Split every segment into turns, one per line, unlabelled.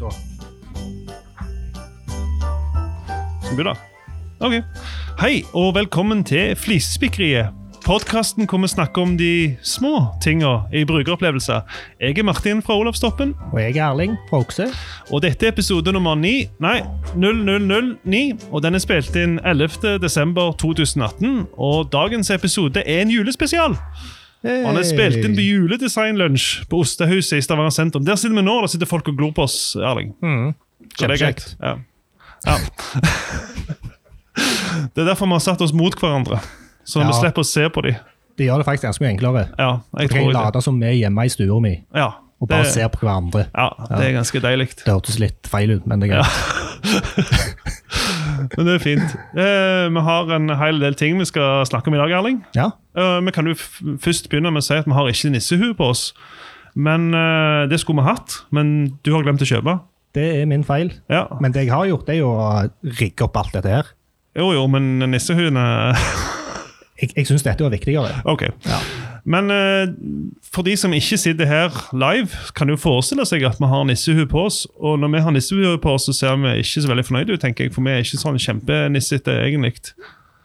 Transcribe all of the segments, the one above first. Da.
Skal vi begynne? Ok. Hei, og velkommen til Flisespikkeriet. Podkasten hvor vi snakker om de små tinga i brukeropplevelser. Jeg er Martin fra Olavstoppen,
Og jeg er Erling fra Okse.
og dette er episode nummer 9, nei, 0009. Og den er spilt inn 11. desember 2018, og dagens episode er en julespesial. Og han er spilt inn på juledesignlunsj på Ostehuset i Stavanger sentrum. Der sitter vi nå, og der sitter folk og glor på oss, Erling.
Mm.
Så det er greit. Ja. Ja. det er derfor vi har satt oss mot hverandre. Så vi
Ja.
slipper å se på dem.
Eh, Det gjør det faktisk ganske mye enklere.
Ja, jeg
Jeg kan
tror
jeg
det.
late som vi er hjemme i stua mi
Ja, det,
og bare ser på hverandre.
ja, det er ganske deilig.
Det hørtes litt feil ut, men det er greit.
Men det er fint. Eh, vi har en hel del ting vi skal snakke om i dag, Erling.
Ja.
Eh, vi kan jo f først begynne med å si at vi har ikke nissehue på oss. Men eh, Det skulle vi hatt, men du har glemt å kjøpe.
Det er min feil.
Ja.
Men det jeg har gjort, det er jo å rigge opp alt dette her.
Jo, jo, men nissehuene
Jeg, jeg syns dette var viktigere.
Ok.
Ja.
Men eh, for de som ikke sitter her live, kan jo forestille seg at vi har nissehue på oss. Og når vi har nissehue på oss, så ser vi ikke så veldig fornøyde ut, tenker jeg. For vi er ikke sånn kjempenissete, egentlig.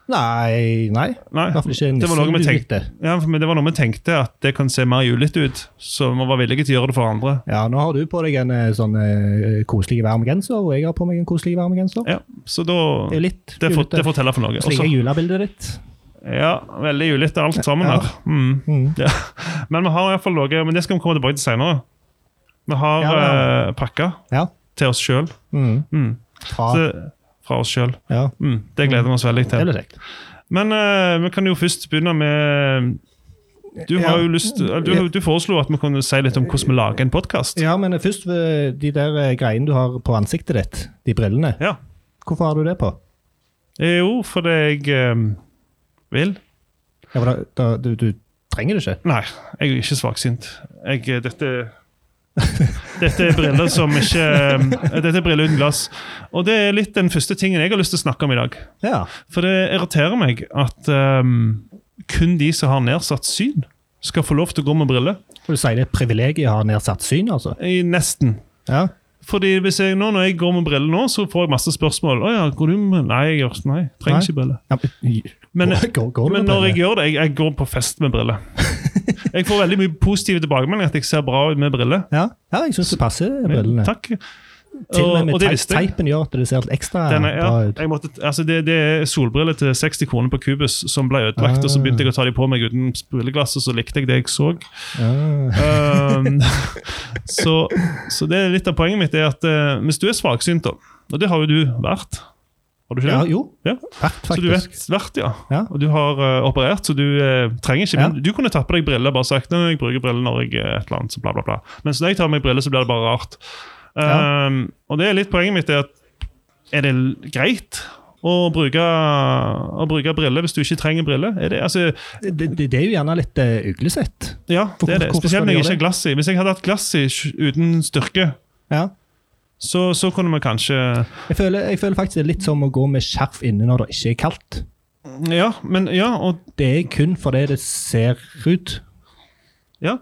Nei, nei.
Nei,
I hvert fall ikke
det var noe vi
nissehuet
tenkte. Ja, for- men det var noe vi tenkte, at det kan se mer julete ut. Så vi var villige til å gjøre det for andre.
Ja, nå har du på deg en eh, sånn eh, koselig varm genser, og jeg har på meg en koselig varm genser.
Ja, så da
Det er jo litt
det, for,
julete.
det forteller for noe.
Så liker
Også-
jeg julebildet ditt.
Ja, veldig julete alt sammen
Ja.
her. Mm.
Mm.
Ja. Men vi har i hvert fall noe, men det skal vi komme tilbake til senere. Vi har
Ja,
eh, pakker
Ja.
til oss sjøl.
Mm.
Mm.
Fra,
Så- Fra oss sjøl.
ja.
Mm. Det gleder vi oss veldig
Det
til.
blir kjekt.
Men eh, vi kan jo først begynne med Du har
Ja.
jo lyst du, du foreslo at vi kunne si litt om hvordan vi lager en podkast.
Ja, men først eh, de der eh, greiene du har på ansiktet ditt, de brillene.
Ja.
Hvorfor har du det på?
Eh, Jo, fordi jeg eh, vil.
Ja, for da, da, du, du trenger det ikke.
Nei, jeg er ikke svaksynt. Jeg, eh, dette dette er briller som ikke eh, Dette er briller uten glass. Og det er litt den første tingen jeg har lyst til å snakke om i dag.
Ja.
For det irriterer meg at eh, kun de som har nedsatt syn, skal få lov til å gå med briller.
For du sier det er et privilegium å ha nedsatt syn, altså.
I nesten.
Ja.
Fordi hvis jeg nå, Når jeg går med briller nå, så får jeg masse spørsmål. Å ja, går du med Nei, jeg gjør nei, jeg trenger
Nei.
ikke briller.
ja men,
Men,
går, går, går du
men
med
når jeg
briller?
gjør det, jeg, jeg går på fest med briller. Jeg får veldig mye positive tilbakemeldinger at jeg ser bra ut med briller.
ja. ja, jeg syns det passer, brillene.
Takk.
Til og med med
det
teip,
visste jeg.
teipen gjør at det ser litt ekstra
Den er, ja,
bra ut.
jeg måtte, altså det, det er solbriller til 60 kroner på Cubus som ble ødelagt. Og så begynte jeg å ta de på meg uten brilleglass, og så likte jeg det jeg så.
Ja.
Um, så, så det er litt av poenget mitt er at eh, hvis du er svaksynt, da, og det har jo du vært Har du ikke
ja,
det?
jo.
Ja.
Fakt,
Så du vet
faktisk.
vært, ja.
Ja.
Og du har eh, operert, så du eh, trenger ikke
Ja.
men Du kunne tatt på deg briller bare sagt «Nei, jeg bruker briller når jeg eh, et eller annet, så bla, bla, bla. Mens når jeg tar på meg briller, så blir det bare rart.
Ja.
Um, Og det er litt poenget mitt er at er det l- greit å bruke, å bruke briller hvis du ikke trenger briller? Er det, altså,
Det, det, det er jo gjerne litt eh, uglesett.
ja, det er det.
Hvorfor- hvorfor skal
Spesielt når
du
jeg
gjøre
ikke
det?
har glass i. Hvis jeg hadde hatt glass i sj- uten styrke,
Ja.
så, så kunne vi kanskje
Jeg føler, jeg føler faktisk det er litt som å gå med skjerf inne når det ikke er kaldt.
Ja, men ja, og
Det er kun fordi det ser ut.
Ja,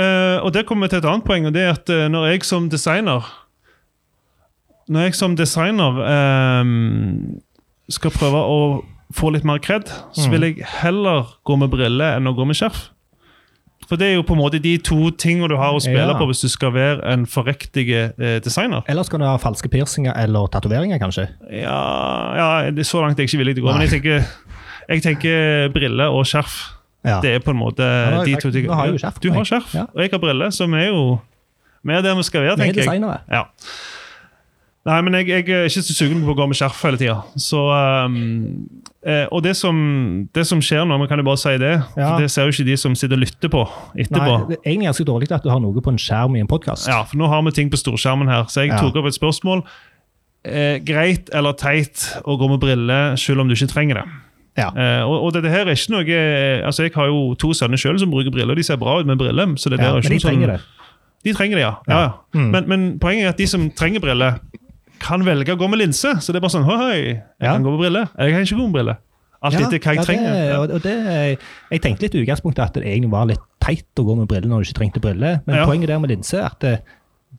eh, og der kommer vi til et annet poeng, og det er at eh, når jeg som designer Når jeg som designer eh, skal prøve å få litt mer kred, så
Mm.
vil jeg heller gå med briller enn å gå med skjerf. For det er jo på en måte de to tingene du har å spille
Ja.
på hvis du skal være en forriktig eh, designer.
Ellers kan du ha falske piercinger eller tatoveringer, kanskje.
Ja, ja, det er så langt er jeg ikke villig til å gå,
Nei.
men jeg tenker, jeg tenker briller og skjerf.
Ja.
Det er på en måte
nå har
de
jeg-
to tingene.
nå har jeg jo skjerf på
Du har
meg.
skjerf,
Ja.
og jeg har briller, så vi er jo vi er der vi skal være,
Vi er
tenker jeg.
designere.
Ja. Nei, men jeg, jeg er ikke så sugen på å gå med skjerf hele tida. Så ehm, eh, Og det som, det som skjer nå, vi kan jo bare si det,
Ja.
for det ser jo ikke de som sitter og lytter på
Nei,
etterpå.
det er egentlig ganske dårlig at du har noe på en skjerm i en podkast.
Ja, for nå har vi ting på storskjermen her, så jeg
Ja.
tok opp et spørsmål. Eh, greit eller teit å gå med briller selv om du ikke trenger det?
Ja.
Eh, og, og dette her er ikke noe Altså, Jeg har jo to sønner sjøl som bruker briller, og de ser bra ut med briller. så det der
Ja,
er
men
ikke
de
noe sånn-
trenger det.
De trenger det, ja. ja. ja.
Mm.
Men, men poenget er at de som trenger briller, kan velge å gå med linse. Så det er bare sånn Hei, hei, jeg
Ja.
kan gå med briller. Jeg kan ikke gå med briller. Alt
Ja,
etter hva jeg
ja,
trenger.
Det,
Ja.
og- og det, jeg tenkte litt i utgangspunktet at det egentlig var litt teit å gå med briller når du ikke trengte briller, men
Ja.
poenget der med linse er at det,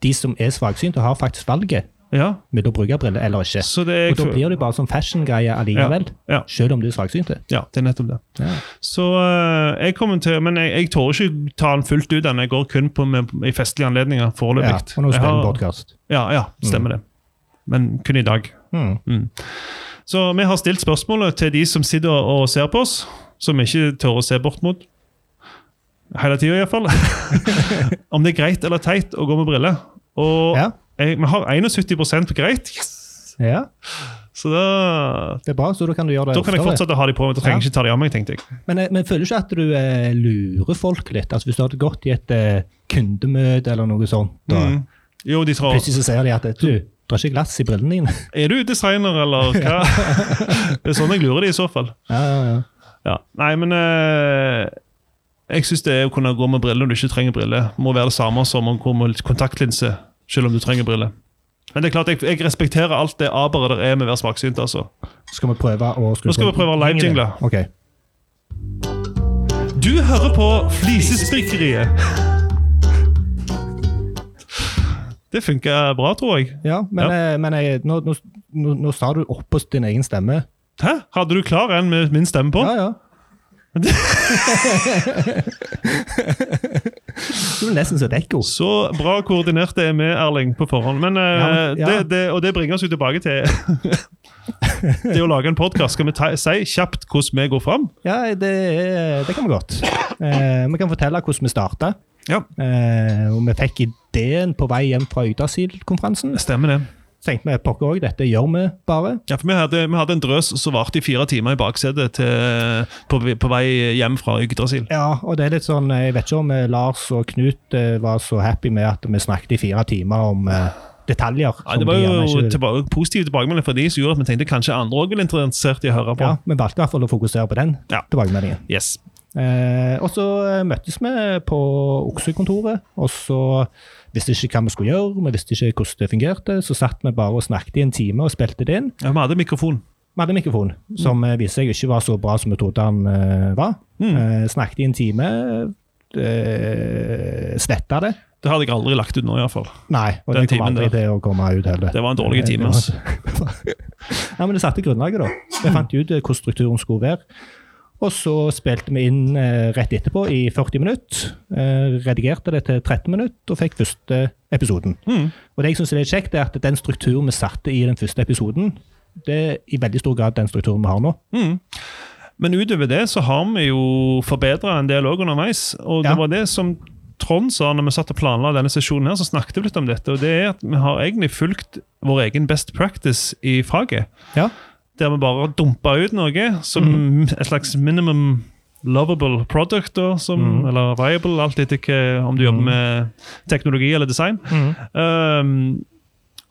de som er svaksynte, har faktisk valget
Ja,
mellom å bruke briller eller ikke.
så det
Og da
er
blir det bare sånn fashion-greie allikevel,
Ja, ja.
selv om du er svaksynt.
Ja, det er nettopp det.
Ja.
Så eh, jeg kommer til Men jeg, jeg tør ikke ta den fullt ut. Den jeg går kun på med, i festlige anledninger
Ja,
foreløpig.
og nå
Jeg
spiller
har-
vi Mm. podkast.
ja, ja, stemmer det. Men kun i dag.
Mm.
Så vi har stilt spørsmålet til de som sitter og ser på oss, som vi ikke tør å se bort mot. Hele tida, iallfall. Om det er greit eller teit å gå med briller. Og
Ja.
jeg, vi har 71 på greit, yes!
ja,
så da,
det er bra, så da kan du gjøre det
da kan jeg
oftere.
fortsette å ha de på meg. Da trenger jeg ikke ta de av meg, tenkte jeg.
Men, eh, men føler du ikke at du eh, lurer folk litt? Altså Hvis du hadde gått i et eh, kundemøte eller noe sånt, da
Mm. Jo, de tror
plutselig så sier de at eh, du, det er ikke glass i brillene dine.
Er du designer, eller hva? det er sånn jeg lurer de i så fall.
ja, ja, ja.
Ja. Nei, men eh, jeg syns det å kunne gå med briller når du ikke trenger briller, må være det samme som å gå med kontaktlinse selv om du trenger briller. Men det er klart, jeg, jeg respekterer alt det aberet der er med å være svaksynt. altså.
Skal vi prøve å skru
Nå skal vi prøve å live-jingle.
Ok.
Du hører på Flisesprikkeriet. Det funker bra, tror jeg.
Ja, men, eh, men jeg, nå, nå, nå, nå sa du oppå din egen stemme.
Hæ? Hadde du klar en med min stemme på?
Ja, ja. Det var nesten som et ekko.
Så bra koordinert det er med Erling på forhånd. Men, eh,
Ja, men- ja.
Det, det, og det bringer oss jo tilbake til det å lage en podkast. Skal vi ta, si kjapt hvordan vi går fram?
Ja, det, er- det kan vi godt. Eh, vi kan fortelle hvordan vi starta.
Ja.
Eh, og vi fikk ideen på vei hjem fra Ydasil-konferansen.
Stemmer det.
Så tenkte vi pokker òg, dette gjør vi bare.
Ja, for Vi hadde, vi hadde en drøs som varte i fire timer i baksetet til, på, på vei hjem fra Yggdrasil.
Ja, og det er litt sånn, Jeg vet ikke om eh, Lars og Knut eh, var så happy med at vi snakket i fire timer om eh,
Ja,
detaljer. som
det
de
var
gjerne
jo
ikke-
tilbake, positive tilbakemeldinger fra de som gjorde at vi tenkte kanskje andre òg ville interessert i å høre på.
Ja, Vi valgte i hvert fall å fokusere på den
Ja.
tilbakemeldingen.
Yes.
Eh, og så eh, møttes vi på Oksekontoret, og så visste ikke hva vi skulle gjøre, vi visste ikke hvordan det fungerte, så satt vi bare og snakket i en time og spilte det inn.
Ja, vi hadde mikrofon.
Vi hadde mikrofon, som eh, viste seg ikke var så bra som vi trodde han eh, var. Eh, snakket i en time, uh, sletta det.
Det hadde jeg aldri lagt ut nå, iallfall.
Nei, og
Den
det kom
timen
aldri
der.
til å komme ut heller.
Det var en dårlig time, ass.
ja, men det satte grunnlaget, da. Vi fant ut eh, hvordan strukturen skulle være. Og så spilte vi inn eh, rett etterpå i 40 minutter. Eh, redigerte det til 13 minutter og fikk første episoden.
Mm.
Og det jeg synes er litt kjekt, er at den strukturen vi satte i den første episoden, det er i veldig stor grad den strukturen vi har nå.
Mm. Men utover det så har vi jo forbedra en del òg underveis. Og det
Ja.
var det som Trond sa når vi satt og planla denne sesjonen, her, så snakket vi litt om dette. Og det er at vi har egentlig fulgt vår egen best practice i faget.
Ja. Mm.
Der vi bare dumpa ut noe som et slags minimum lovable product, da, som,
Mm.
eller viable, alt etter hva- om du jobber med teknologi eller design. Um,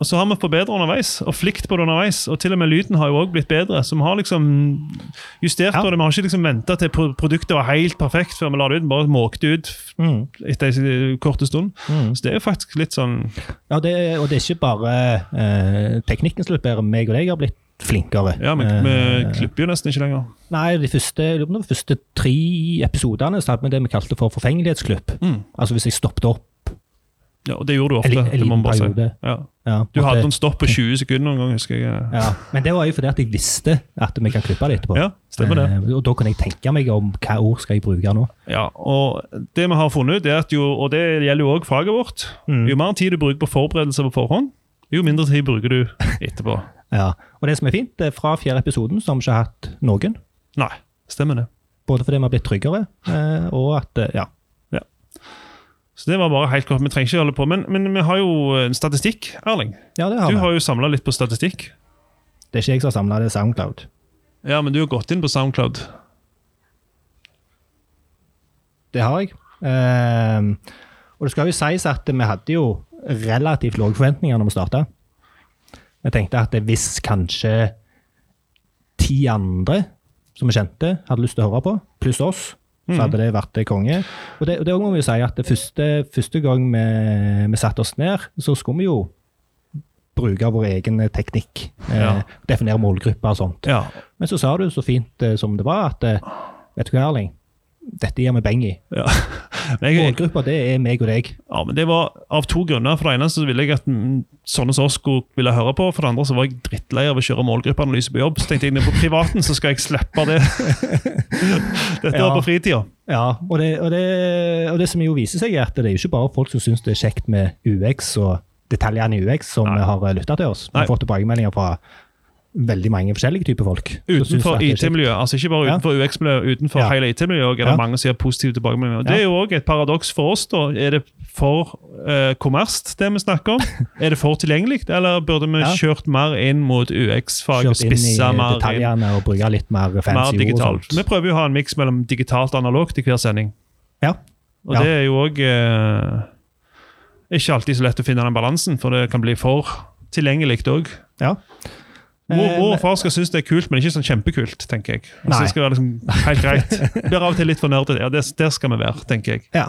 og så har vi forbedret underveis, og flikt på det underveis. Og til og med lyden har jo også blitt bedre, så vi har liksom justert
Ja.
på det. Vi har ikke liksom venta til pro- produktet var helt perfekt før vi la det ut. Bare måkte ut
Mm.
etter en korte stund.
Mm.
Så det er jo faktisk litt sånn
Ja, det, og det er ikke bare eh, teknikken som er blitt bedre. Meg og deg har blitt flinkere.
Ja, vi,
Eh,
vi klipper jo nesten ikke lenger.
Nei, de første, jeg lurer på om det var de første tre episodene så hadde vi det vi kalte for forfengelighetsklipp.
Mm.
Altså hvis jeg stoppet opp
Ja, og det gjorde du
en,
ofte.
li- en
det må
liten
man bare si.
periode.
Ja.
Ja,
Du hadde
måtte-
en stopp på 20 sekunder noen gang, husker jeg.
ja. Men det var jo fordi at jeg visste at vi kan klippe det etterpå.
Ja, stemmer det.
Eh, og da kunne jeg tenke meg om hva ord skal jeg bruke nå.
Ja, og det vi har funnet ut, er at jo, og det gjelder jo òg faget vårt
Mm.
Jo mer tid du bruker på forberedelser på forhånd, jo mindre tid bruker du etterpå.
Ja. Og det som er fint, det er fra fjerde episoden så har vi ikke hatt noen.
Nei, stemmer det.
Både fordi vi har blitt tryggere, eh, og at eh, ja.
Så det var bare helt kort. Vi trenger ikke holde på. Men, men vi har jo en statistikk, Erling.
ja, det har
Du
vi.
har jo samla litt på statistikk.
Det er ikke jeg som har samla, det er Soundcloud.
Ja, men du har gått inn på SoundCloud.
Det har jeg. Ehm, og det skal jo sies at vi hadde jo relativt lave forventninger når vi starta. Jeg tenkte at hvis kanskje ti andre som vi kjente, hadde lyst til å høre på, pluss oss, så
Mhm.
hadde det vært det konge. Og det, og det må vi jo si at det første, første gang vi, vi satte oss ned, så skulle vi jo bruke vår egen teknikk. Eh,
Ja.
Definere målgrupper og sånt.
Ja.
Men så sa du så fint eh, som det var, at eh, vet du hva, Erling, dette gir vi beng i.
Ja. Men jeg,
Målgruppa, det er meg og deg.
Ja, men Det var av to grunner. For det ene så ville jeg at mm, sånne som oss skulle ville høre på. For det andre så var jeg drittlei av å kjøre målgruppeanalyse på jobb. Så tenkte jeg ned på privaten, så skal jeg slippe det. Dette
Ja.
var på fritida.
Ja, og det, og, det, og det som jo viser seg, er at det er jo ikke bare folk som syns det er kjekt med UX og detaljene i UX, som
Nei.
har lytta til oss. Vi
Nei.
har fått tilbakemeldinger fra veldig mange forskjellige typer folk. som syns
Utenfor
at det er kjekt.
IT-miljøet. Altså ikke bare
Ja.
utenfor UX-miljøet, utenfor
Ja.
hele IT-miljøet også er det
Ja.
mange som gir positive tilbakemeldinger. Og Det er jo òg et paradoks for oss. da. Er det for eh, kommerst, det vi snakker om? er det for tilgjengelig, eller burde vi
Ja.
kjørt mer inn mot UX-fag?
Kjørt inn i eh,
Spisse mer inn?
detaljene og bruke litt mer
mer
fancy ord. sånn. og
digitalt. Vi
sånt.
prøver jo å ha en miks mellom digitalt og analogt i hver sending.
Ja.
Og
Ja.
det er jo òg eh, ikke alltid så lett å finne den balansen, for det kan bli for tilgjengelig òg.
Ja.
Mor,
Eh,
mor og far skal synes det er kult, men ikke sånn kjempekult, tenker jeg. Altså,
Nei.
det skal være liksom helt greit. Blir av og til litt for nerdete. Ja, det, der skal vi være, tenker jeg.
Ja.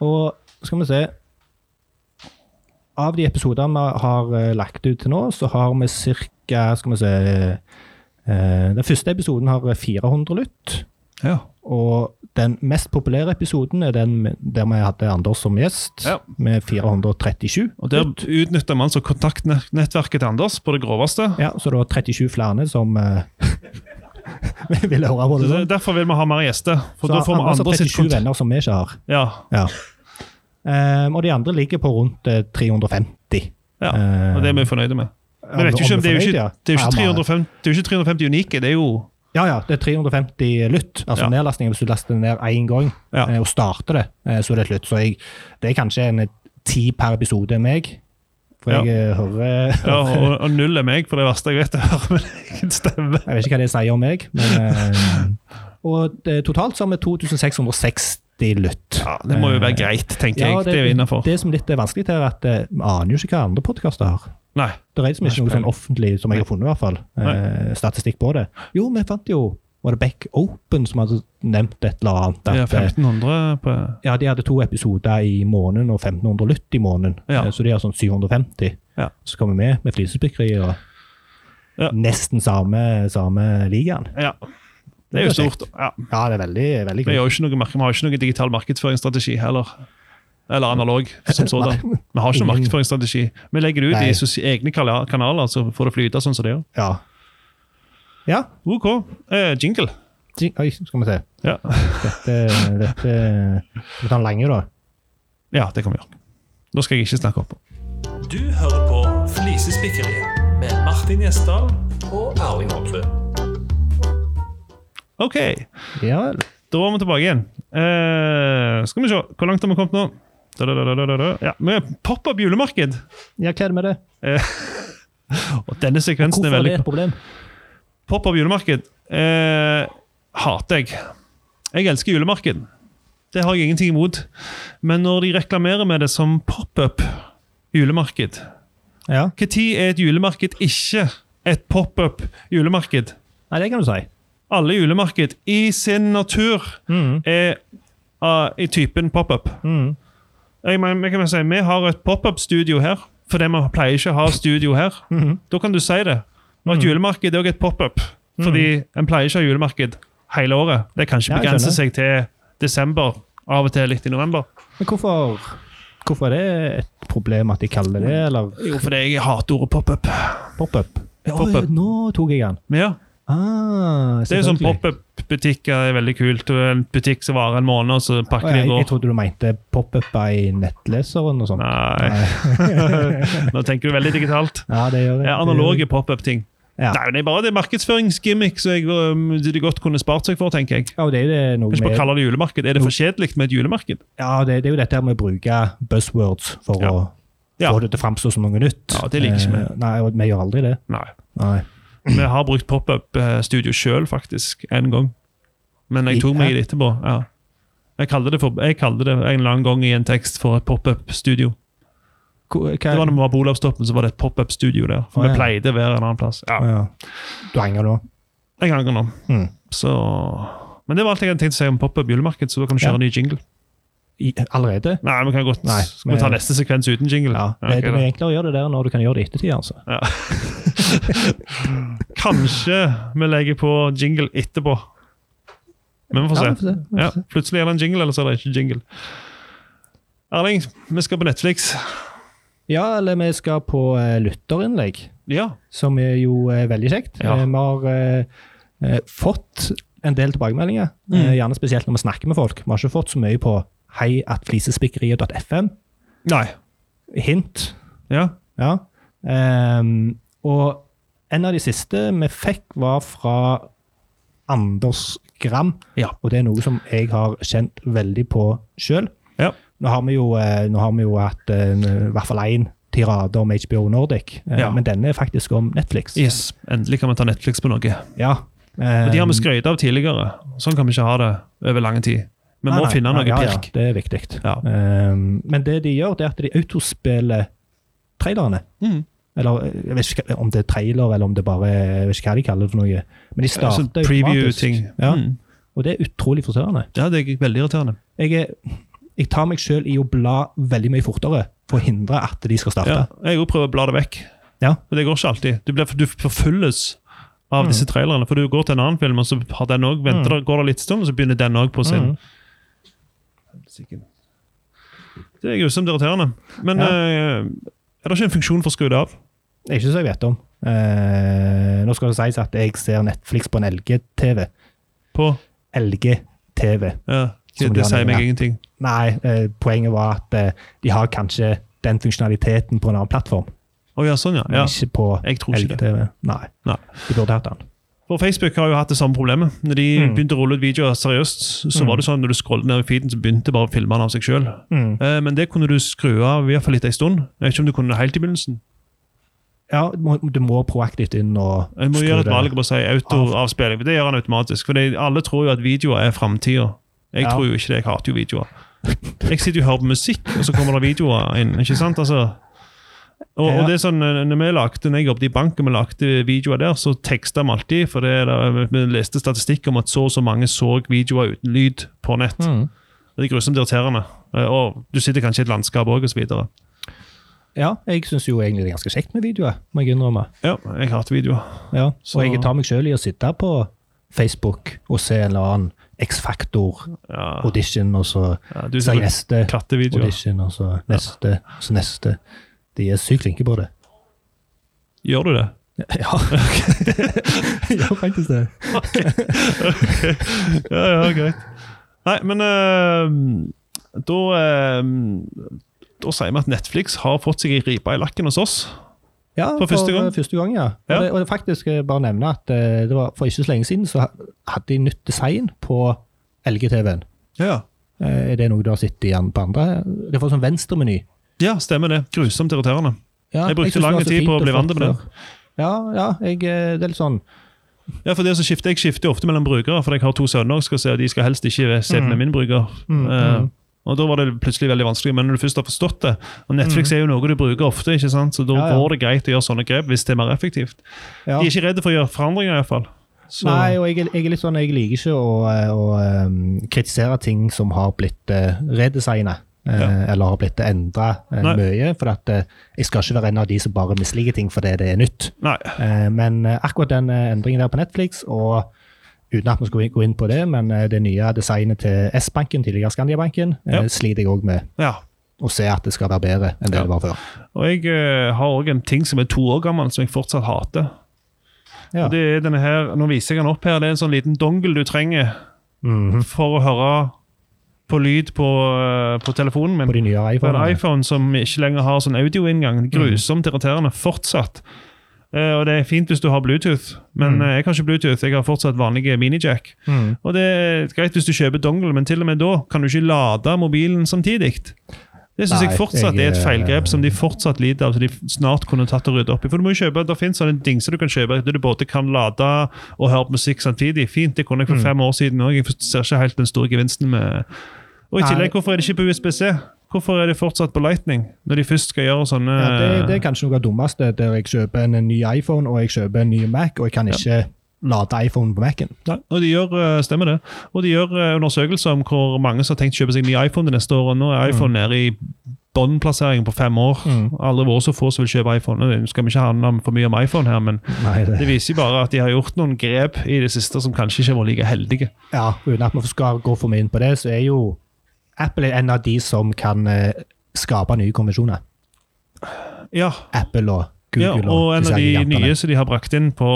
Og skal vi se Av de episodene vi har eh, lagt ut til nå, så har vi ca. Skal vi se eh, Den første episoden har 400 lytt.
Ja.
Og den mest populære episoden er den med- der vi hadde Anders som gjest,
Ja.
med 437.
Og der utnytter man så kontaktnettverket til Anders på det groveste.
Ja, Så det var 37 flere som eh, ville høre på
Så
det.
det-
sånn.
Derfor vil vi ha mer gjester. For
Så
da får vi
Anders har
andre sitt
37
kontakt.
venner som vi ikke har.
Ja,
Ja. Ehm, og de andre ligger på rundt eh, 350.
ja.
Eh,
Og det er vi fornøyde med.
om-
Men vet du
om
ikke om det er jo
fornøyd,
ikke,
ja.
det er jo ikke
Ja, men-
350, det er jo ikke 350 unike, det er jo
Ja, ja, det er 350 lytt. Altså
Ja.
nedlastningen hvis du laster det ned én gang
Ja.
eh, og starter det, eh, så er det et lytt. Så jeg, det er kanskje en eh, ti per episode meg. For
Ja.
jeg eh, hører
ja, og, og null er meg, for det verste jeg vet, er å høre min egen stemme.
Jeg vet ikke hva det sier om meg, men eh, Og det, totalt så har vi 2660 lytt. Eh,
Ja, det må jo være greit, tenker jeg. Eh, Det er vi innafor.
Det som litt er vanskelig, til er at eh, vi aner jo ikke hva andre podkaster har.
Nei.
Det er liksom ikke noe sånn offentlig som jeg har funnet, i hvert fall. eh, statistikk på det. Jo, vi fant jo Var det Back Open som hadde nevnt et eller annet?
Det er
At, eh,
1500 på
ja, de hadde to episoder i måneden og 1500 lytt i måneden.
Ja.
Eh, Så de har sånn 750.
Ja.
Så kommer vi med med flisespikkeri og
Ja.
nesten samme, samme ligaen.
Ja. Det er jo stort. Ja.
Ja, det er veldig, veldig
Vi
kult.
har jo ikke noe, mark- vi har jo ikke noe digital markedsføringsstrategi heller. Eller analog, som sådan. Vi har ikke noen markedsføringsstrategi. Vi legger det ut
Nei.
i sos- egne kala- kanaler, så får det flyte sånn som det gjør.
Ja. ja.
OK. Eh, jingle.
jing- Oi, skal vi se.
Ja.
Dette, dette Skal vi ta den lange, da?
ja, det kan vi gjøre. Nå skal jeg ikke snakke opp.
Du hører på Flisespikkeriet med Martin Gjesdal og Erling Hovde.
OK.
Ja vel.
Da var vi tilbake igjen. Eh, skal vi se, hvor langt har vi kommet nå? Da, da, da, da, da, da. Ja, vi er Pop-up julemarked.
Ja, hva er det med det?
Og denne sekvensen
Hvorfor
er
er det
veldig
et problem?
Pop-up julemarked eh, hater jeg. Jeg elsker julemarked. Det har jeg ingenting imot. Men når de reklamerer med det som pop-up julemarked
Ja.
Når er et julemarked ikke et pop-up julemarked?
Nei, det kan du si.
Alle julemarked i sin natur
Mhm.
er ah, i typen pop-up.
Mhm.
Jeg mener, jeg kan bare si, Vi har et pop-up-studio her, fordi vi pleier ikke å ha studio her. Da kan du si det. Og et julemarked er også et pop-up, fordi en pleier ikke å ha julemarked hele året. Det kan ikke
Ja, jeg
begrense
skjønner.
seg til desember, av og til litt i november.
Men hvorfor, hvorfor er det et problem at de kaller det eller
Jo, fordi jeg hater ordet pop-up.
pop-up? Ja, oi,
Pop-up.
Nå tok jeg den.
Men ja,
Ah,
det er jo sånn
selvfølgelig.
pop-up-butikker er veldig kult. og En butikk som varer en måned, og så
Å,
pakker
Jeg,
de
jeg
går.
trodde du mente pop-up i nettleseren og sånn. sånt.
Nei, nå tenker du veldig digitalt.
Ja, det gjør jeg.
Ja, analoge pop-up-ting.
Ja.
Nei, men Det er bare det markedsføringsgimmick som jeg, um, de godt kunne spart seg for, tenker jeg.
Ja, og det er jo det noe
Kan ikke
med
bare kalle det julemarked. Er det for kjedelig med et julemarked?
Ja, det, det er jo dette her med å bruke buzzwords for
Ja.
å
Ja.
få det til å framstå som noe nytt.
Ja, det liker ikke vi.
Eh, Nei, og vi gjør aldri det.
Nei.
Nei.
Vi har brukt pop-up-studio sjøl, faktisk, én gang. Men jeg tok meg i det etterpå. ja. Jeg kalte det, for, jeg kalte det en eller annen gang i en tekst for et pop-up-studio.
Hvor- Hva,
Det var når vi var på Olavstoppen, så var det et pop-up-studio der. For
Å, ja.
vi pleide å være en annen plass. Ja,
Å, ja. Du henger nå?
jeg angrer nå.
Mm.
Så... Men det var alt jeg hadde tenkt å si om pop-up julemarked, så da kan vi
Ja.
kjøre en ny jingle.
I, allerede?
Nei, vi kan godt
Nei,
Skal vi ta
men-
neste sekvens uten jingle?
Ja.
Ja, ok
Det, det
da.
er enklere å gjøre det der når du kan gjøre det i ettertid, altså.
Kanskje vi legger på jingle etterpå. Men vi får se.
Ja, vi får se, vi får
Ja, plutselig er det en jingle, eller så er det ikke jingle. Erling, vi skal på Netflix.
Ja, eller vi skal på eh, lytterinnlegg,
Ja.
som er jo eh, veldig kjekt.
Ja.
Eh, vi har eh, eh, fått en del tilbakemeldinger, eh, gjerne spesielt når vi snakker med folk. Vi har ikke fått så mye på heiatflisespikkeriet.fm.
Nei.
Hint.
Ja.
Ja. Ehm, og en av de siste vi fikk, var fra Anders Gram.
Ja.
Og det er noe som jeg har kjent veldig på sjøl.
Ja.
Nå har vi jo, eh, nå har vi jo hatt eh, i hvert fall én tirade om HBO Nordic, eh,
Ja.
men denne er faktisk om Netflix.
Yes. Endelig kan vi ta Netflix på noe.
Ja.
Og de har
Ehm,
vi skrøyt av tidligere. Sånn kan vi ikke ha det over lang tid. Vi
nei,
må
nei,
finne
nei,
noe
ja,
pirk.
Ja, det er viktig.
Ja.
Ehm, men det de gjør, det er at de autospiller trailerne.
Mm.
Eller eh, jeg vet ikke om det er trailer, eller om det bare er- Jeg vet ikke hva de kaller det for noe. Men de starter
Sånn
automatisk.
preview-ting.
Ja,
Mm.
og det er utrolig frustrerende.
ja, det er veldig irriterende.
Jeg, er, jeg tar meg sjøl i å bla veldig mye fortere for å hindre at de skal
Ja,
starte.
jeg også prøver å bla det vekk.
Ja. Mm.
Men det går ikke alltid. Du, blir, du forfylles av disse trailerne. For du går til en annen film, og så har den også, venter, det- går det litt stund, og så begynner den òg på sin.
Mm.
Sikkert. Det er grusomt irriterende. Men
Ja.
eh, er det ikke en funksjon for å skru det av?
Det er Ikke så jeg vet om. Eh, nå skal det sies at jeg ser Netflix på en LG-TV.
På?
LG-TV.
Ja, det,
Som de
det
har
sier meg
lenge.
ingenting.
Nei, eh, poenget var at eh, de har kanskje den funksjonaliteten på en annen plattform,
Å ja, sånn, ja.
men
ja.
ikke på
Jeg tror ikke det.
LG-TV. Nei.
Nei.
de burde hatt den.
For Facebook har jo hatt det samme problemet. Når de
Mm.
begynte å rulle ut videoer seriøst, så var det sånn når du scrollet ned i feeden, så begynte bare filmene av seg sjøl.
Mm.
men det kunne du skru av i hvert fall litt ei stund. Jeg vet ikke om du kunne det helt i begynnelsen.
Ja, du må, du må proaktivt inn og
Jeg må
skru
gjøre et
det.
valg på å si autoavspilling. for Det gjør han automatisk. For det, alle tror jo at videoer er framtida. Jeg
Ja.
tror jo ikke det. Jeg hater jo videoer. Jeg sitter jo og hører på musikk, og så kommer det videoer inn. ikke sant? Altså, og, og
Ja.
det er sånn, eh, når, vi lagde, når jeg jobbet i banken og lagde videoer der, så teksta vi alltid. For det, er da- vi leste statistikk om at så og så mange så videoer uten lyd på nett.
Mm.
Det er grusomt irriterende. Eh, Og du sitter kanskje i et landskap òg, osv.
Ja, jeg syns jo egentlig det er ganske kjekt med videoer, må jeg innrømme.
Ja, jeg hater videoer.
Ja,
Så-
og jeg tar meg sjøl i å sitte på Facebook og se en eller annen X-Factor-audition,
Ja,
og så
ja, du
ser jeg
ser
neste
kattevideoer.
audition, og så neste, og så neste. De er sykt flinke på det.
Gjør du det?
Ja, ja faktisk det.
Ja, ja, greit. Nei, men eh, da eh, Da sier vi at Netflix har fått seg ei ripe i lakken hos oss.
Ja,
For første gang?
For eh, første gang, ja. Og,
Ja.
Det, og det faktisk eh, bare nevne at eh, det var for ikke så lenge siden så ha- hadde de nytt design på LG-TV-en.
Ja.
Eh, Er det noe du har sett igjen på andre? Det får sånn venstremeny.
ja, stemmer det. Grusomt irriterende.
Ja,
Jeg brukte
synes det
lang
var så
tid
fint
på å
og
bli vant
flott
med det.
før. Ja, ja jeg, eh, det er litt sånn
Ja, for det så skifter Jeg skifter jo ofte mellom brukere, for jeg har to sønner og skal se, og de skal helst ikke se
Mm.
med min bruker. Eh, og Da var det plutselig veldig vanskelig, men når du først har forstått det og Netflix er jo noe du bruker ofte, ikke sant? så da
Mm. Ja, ja.
går det greit å gjøre sånne grep hvis det er mer effektivt.
ja.
De er ikke redde for å gjøre forandringer, iallfall.
Nei, og jeg, er- jeg er litt sånn, jeg liker ikke å, eh, å eh, kritisere ting som har blitt eh, redesignet. eh,
Ja.
Eller har blitt endra
Nei.
mye. For at eh, jeg skal ikke være en av de som bare misliker ting fordi det er nytt.
Nei.
Eh, Men eh, akkurat den eh, endringen der på Netflix, og uten at vi skal gå inn på det, men eh, det nye designet til S-banken, tidligere Skandiabanken, eh,
Ja.
sliter jeg òg med
Ja.
å se at det skal være bedre enn det
Ja.
det var før.
Og jeg eh, har òg en ting som er to år gammel, som jeg fortsatt hater.
Ja.
Og det er denne her, Nå viser jeg den opp her. Det er en sånn liten dongle du trenger
Mhm.
for å høre på lyd på, eh, på telefonen min.
På de nye
På en
iPhonene.
iPhone som ikke lenger har sånn audioinngang.
Mm.
Grusomt irriterende fortsatt. Eh, og det er fint hvis du har Bluetooth, men eh, jeg har ikke Bluetooth. Jeg har fortsatt vanlige minijack.
Mm.
Og det er greit hvis du kjøper dongle, men til og med da kan du ikke lade mobilen samtidig. Det syns
Nei,
jeg fortsatt
jeg,
er et
eh,
feilgrep som de fortsatt lider av, som de snart kunne tatt og rydde opp i. For du må jo kjøpe, Det finnes sånne dingser du kan kjøpe der du både kan lade og høre på musikk samtidig. Fint, det kunne jeg
Mm.
for fem år siden òg. Jeg ser ikke helt den store gevinsten med Og i
Nei.
tillegg, hvorfor er det ikke på USBC? Hvorfor er det fortsatt på Lightning, når de først skal gjøre sånne
Ja, det, det er kanskje noe av det dummeste, der jeg kjøper en ny iPhone og jeg kjøper en ny Mac, og jeg kan ikke lade iPhonen på Mac-en.
Nei, og de gjør, eh, stemmer det. Og de gjør eh, undersøkelser om hvor mange som har tenkt å kjøpe seg ny iPhone det neste år. Og nå er iPhone nede i båndplasseringen på fem år.
Mm.
Aldri vært så få som vil kjøpe iPhone. Nå skal vi ikke handle om for mye om iPhone her, men
Nei, det,
det viser jo bare at de har gjort noen grep i det siste som kanskje ikke har vært like heldige.
ja, uten at vi skal gå for mye inn på det, så er jo Apple er en av de som kan eh, skape nye konvensjoner.
Ja,
Apple og
ja
Google
og en
disse
av de
gigantene.
nye som de har brakt inn på,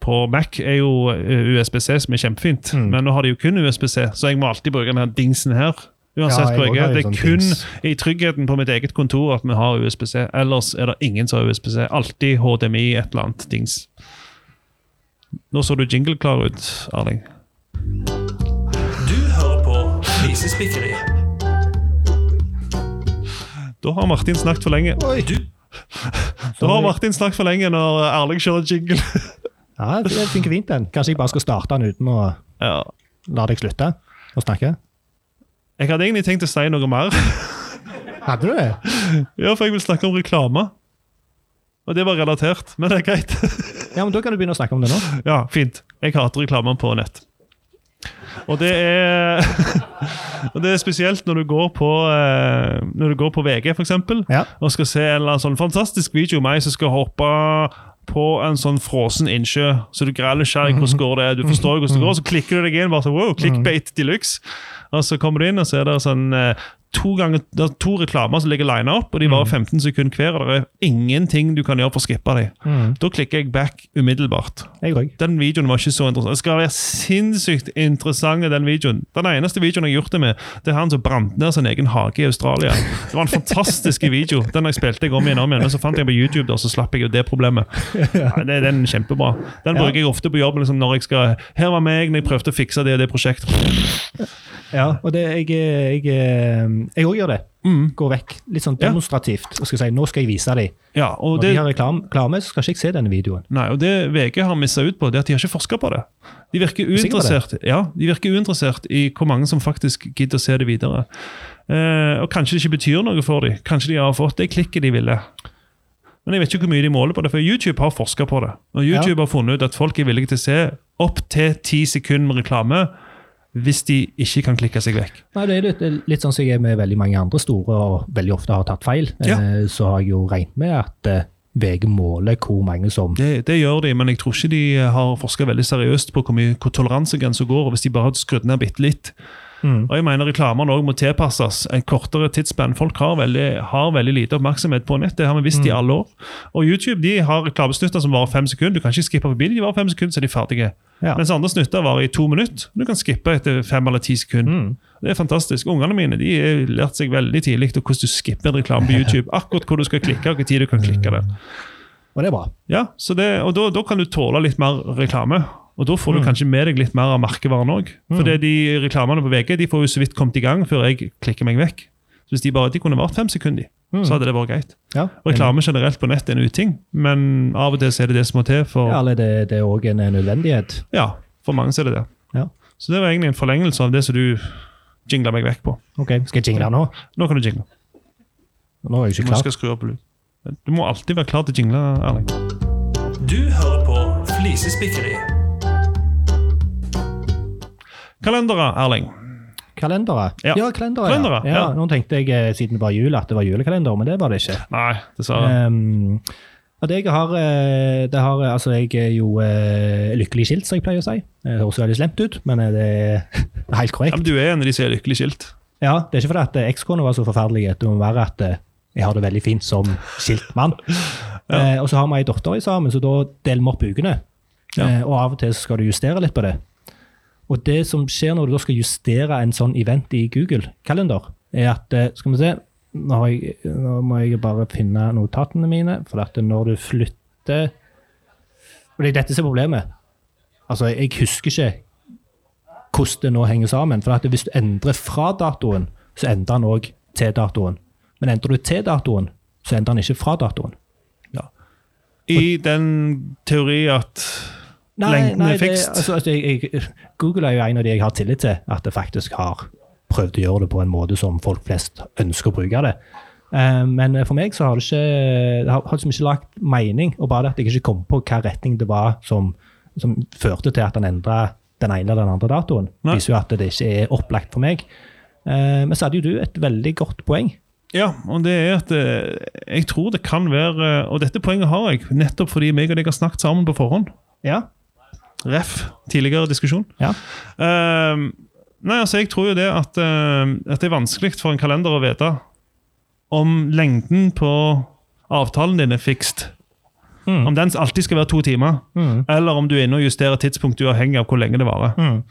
på Mac, er jo eh, USBC, som er kjempefint.
Mm.
Men nå har de jo kun USBC, så jeg må alltid bruke denne dingsen her. Uansett
Ja, jeg
hvor jeg
også
er. Det
har jo
er
sånn
kun
dings.
i tryggheten på mitt eget kontor at vi har USBC. Ellers er det ingen som har USBC. Alltid HDMI, et eller annet dings. Nå så du jingle-klar ut, Erling.
Du hører på Flisespikkeriet.
Da har Martin snakket for lenge.
Oi!
Du
Da har Martin snakket for lenge når Erling kjører jingle.
Ja, det funker fint, den. Kanskje jeg bare skal starte den uten å
Ja.
la deg slutte å snakke?
Jeg hadde egentlig tenkt å si noe mer,
Hadde du det?
Ja, for jeg vil snakke om reklame. Og det var relatert, men det er greit.
Ja, men Da kan du begynne å snakke om det nå.
Ja, fint. Jeg hater reklame på nett. Og det er Og det er spesielt når du går på eh, Når du går på VG, for eksempel,
Ja.
og skal se en eller annen sånn fantastisk video om meg som skal hoppe på en sånn frossen innsjø, så du greier nysgjerrig hvordan går det Du forstår hvordan det går, så klikker du deg inn. bare sånn, wow, clickbait deluxe. Og så kommer du inn, og så er det sånn eh, to, ganger, det er to reklamer som ligger lina opp, og de varer 15 sekunder hver. og Det er ingenting du kan gjøre for å skippe dem. Da klikker jeg back umiddelbart.
Jeg òg.
Den videoen var ikke så interessant. Det skal være sinnssykt interessant, den videoen. Den eneste videoen jeg har gjort det med, det er han som brant ned sin egen hage i Australia. Det var en fantastisk video. Den jeg spilte jeg om igjen og om igjen, men så fant jeg på YouTube, da, så slapp jeg jo det problemet. Nei, det, den er kjempebra. Den
Ja.
bruker jeg ofte på jobb liksom, når jeg skal Her var meg når jeg prøvde å fikse det og det prosjektet.
Ja, og det, jeg, jeg, eh, jeg også gjør det.
Mm.
Går vekk litt sånn
Ja.
demonstrativt. og skal si, Nå skal jeg vise dem.
Ja, og
Når
det,
de har reklam- reklame, så skal ikke jeg se denne videoen.
Nei, og det VG har missa ut på, det er at de har ikke forska på det. De virker
Sikker på det?
uinteressert Ja, de virker uinteressert i hvor mange som faktisk gidder å se det videre. Eh, og kanskje det ikke betyr noe for dem. Kanskje de har fått det klikket de ville. Men jeg vet ikke hvor mye de måler på det, for YouTube har forska på det. Og YouTube har funnet ut at folk er villige til å se opp til ti sekunder med reklame hvis de ikke kan klikke seg vekk.
Nei, det er litt, litt sånn som jeg er med veldig mange andre store, og veldig ofte har tatt feil.
Ja.
Eh, Så har jeg jo regnet med at eh, VG måler hvor mange som
Det, det gjør de, men jeg tror ikke de eh, har forska veldig seriøst på hvor, mye- hvor toleransegrensa går. og Hvis de bare hadde skrudd ned bitte litt.
Mm.
Og jeg mener Reklamene også må tilpasses en kortere tidsspenn. Folk har veldig, har veldig lite oppmerksomhet på nett. Det har vi visst
Mm.
i alle år. Og YouTube de har reklamesnutter som varer fem sekunder. Du kan ikke skippe forbi de varer fem sekunder, så er de ferdige.
Ja.
Mens andre snutter varer i to minutter. Du kan skippe etter fem eller ti sekunder.
Mm.
Det er fantastisk. Ungene mine de har lært seg veldig tidlig og hvordan du skipper en reklame på YouTube. Akkurat hvor du skal klikke, og hvor tid du kan klikke det.
Og det er bra.
Ja, så det, og da, da kan du tåle litt mer reklame. Og da
Mm.
får du kanskje med deg litt mer av merkevaren òg. For det er de reklamene på VG de får jo så vidt kommet i gang før jeg klikker meg vekk. Så Hvis de bare de kunne vart fem sekunder,
Mm.
så hadde det vært greit.
Ja.
Reklame generelt på nett er en uting, men av og til så er det det som må til. For,
Ja,
ja.
eller det, det er òg en eh, nødvendighet.
for mange så er det det.
Ja.
Så det var egentlig en forlengelse av det som du jingla meg vekk på.
Ok, Skal jeg jingle nå?
Nå kan du jingle.
Nå er jeg
Du
ikke
må,
klar.
skal skru opp lyd. du må alltid være klar til å jingle, Erling.
Du hører på Flisespikkeriet.
Kalendere, Erling.
Kalendere.
Ja.
kalendere.
Kalendere,
ja.
ja.
Nå tenkte jeg eh, siden det var jul at det var julekalender, men det var det ikke.
Nei, dessverre.
Um, at jeg har, eh, det har eh, Altså, jeg er jo eh, lykkelig skilt, som jeg pleier å si. Eh, Det høres veldig slemt ut, men eh, det er helt
Ja, men
korrekt.
du er en av de som er lykkelig skilt.
Ja, Det er ikke fordi at eh, ekskona var så forferdelig, det må være at eh, jeg har det veldig fint som skilt mann. Eh, og så har vi ei datter i sammen, så da deler vi opp ukene.
Ja.
Eh, og av og til så skal du justere litt på det. Og det som skjer når du da skal justere en sånn event i Google-kalender, er at eh, Skal vi se nå, har jeg, nå må jeg bare finne notatene mine, for at når du flytter Og det er dette som er problemet. Altså, jeg husker ikke hvordan det nå henger sammen. For at hvis du endrer fra datoen, så endrer den òg til datoen. Men endrer du til datoen, så endrer den ikke fra datoen.
I den teori at Lengden er fikst.
Det, altså, altså, jeg, jeg, Google er jo en av de jeg har tillit til at det faktisk har prøvd å gjøre det på en måte som folk flest ønsker å bruke det. Eh, men for meg så har det ikke, det har, har liksom ikke lagt mening, og bare det at jeg ikke kom på hva retning det var som, som førte til at han endra den ene eller den andre datoen,
Nei.
viser jo at det ikke er opplagt for meg. Eh, men så hadde jo du et veldig godt poeng
Ja, og det er at eh, jeg tror det kan være eh, Og dette poenget har jeg, nettopp fordi meg og deg har snakket sammen på forhånd.
Ja.
Ref. Tidligere diskusjon.
Ja.
Ehm, nei, altså, jeg tror jo det at, ehm, at det er vanskelig for en kalender å vite om lengden på avtalen din er fikst.
Mm.
Om den alltid skal være to timer,
Mm.
eller om du er inne og justerer tidspunkt uavhengig av hvor lenge det varer.
Mm.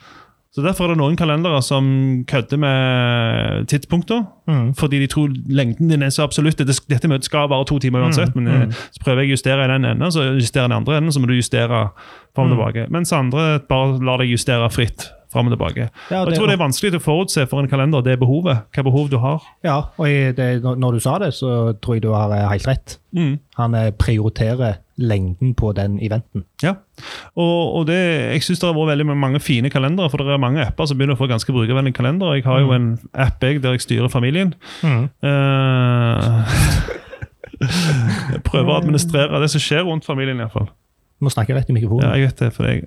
Så Derfor er det noen kalendere som kødder med tidspunkter.
Mm.
Fordi de tror lengden din er så absolutt. Dette, dette møtet skal vare to
Mm.
timer uansett. Men eh, så prøver jeg å justere i den enden, så justerer jeg i den andre enden, så må du justere fram og
Mm.
tilbake. Mens andre bare lar deg justere fritt fram og tilbake.
Ja,
og
det-
jeg tror det er vanskelig å forutse for en kalender det behovet. Hva behov du har.
ja, og i det, når- når du sa det, så tror jeg du har eh, helt rett. Han eh, prioriterer lengden på den eventen.
Ja, og, og det, jeg synes det har vært veldig mange fine kalendere, for det er mange apper som begynner å få ganske brukervennlige kalendere. Jeg har jo en app jeg, der jeg styrer familien. Mm. Eh, jeg prøver å administrere det som skjer rundt familien, iallfall.
Må snakke rett i
Ja,
mikrofonen.
jeg vet det, for jeg,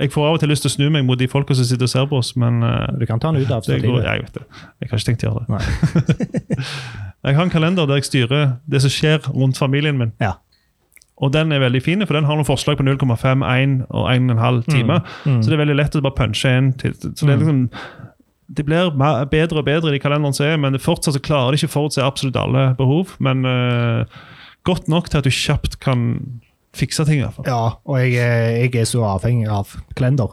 jeg får av og til lyst til å snu meg mot de folka som sitter og ser på oss, men eh,
Du kan ta den ut av
det går,
stativet.
jeg vet det. Jeg har ikke tenkt å gjøre det.
Nei.
Jeg har en kalender der jeg styrer det som skjer rundt familien min.
Ja.
Og den er veldig fin, for den har noen forslag på 0,5, 1 og 1,5 timer. Så det er veldig lett å bare punche inn. Til, så det, er liksom, det blir ma- bedre og bedre i de kalenderen som er, men det fortsatt så klarer de ikke forutse absolutt alle behov. Men eh, godt nok til at du kjapt kan fikse ting. i hvert fall.
Ja, og jeg, er- jeg er så avhengig av kalender.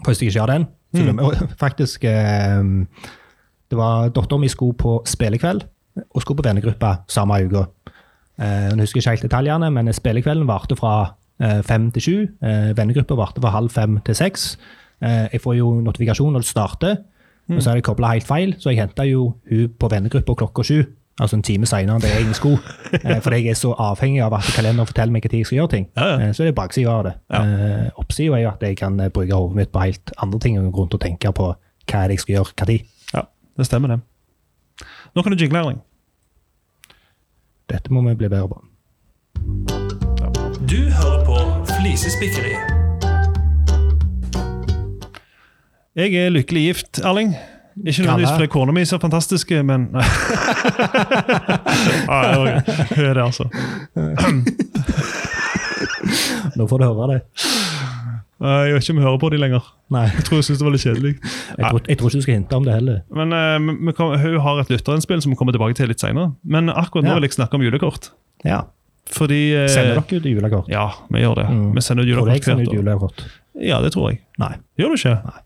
For hvis jeg ikke har den så
Mm.
og Faktisk eh, Det var datteren min skulle på spillekveld og skulle på vennegruppa samme uke. Eh, nå husker jeg ikke helt detaljene, men spillekvelden varte fra eh, fem til sju. Eh, vennegruppa varte fra halv fem til seks. Eh, jeg får jo notifikasjon når det starter,
Mm.
og så er det kobla helt feil, så jeg henta jo hun på vennegruppa klokka sju. Altså en time seinere enn det jeg egentlig skulle. Eh, for jeg er så avhengig av at kalenderen forteller meg når jeg skal gjøre ting.
Ja, ja.
Eh, så er det baksida av det.
Ja.
Eh, Oppsida er jo at jeg kan eh, bruke hodet mitt på helt andre ting og gå rundt og tenke på hva er det jeg skal gjøre, når.
Ja, det stemmer, det. Nå kan du jingle, Erling.
Dette må vi bli bedre på.
Du hører på Flisespikkeri.
Jeg er lykkelig gift, Erling. Ikke nødvendigvis
Kalle.
fordi kona mi er så fantastisk, men Nei, ja, ok. Hun er det, altså.
Nå får du høre det.
Eh, Jeg vet ikke om jeg hører på de lenger.
Nei,
Jeg tror jeg synes det var litt kjedelig.
jeg tror, jeg tror ikke du skal hinte om det heller.
Men eh, vi kom, Hun har et lytterinnspill som vi kommer tilbake til litt senere. Men akkurat nå
Ja.
vil jeg snakke om julekort.
Ja.
Fordi eh,
Sender dere ut julekort?
Ja, vi gjør det.
Mm.
Vi sender ut
Tror du jeg
julekort
sender
hvert
ut
år.
julekort?
Ja, det tror jeg.
Nei.
Gjør du ikke?
Nei.
Ja,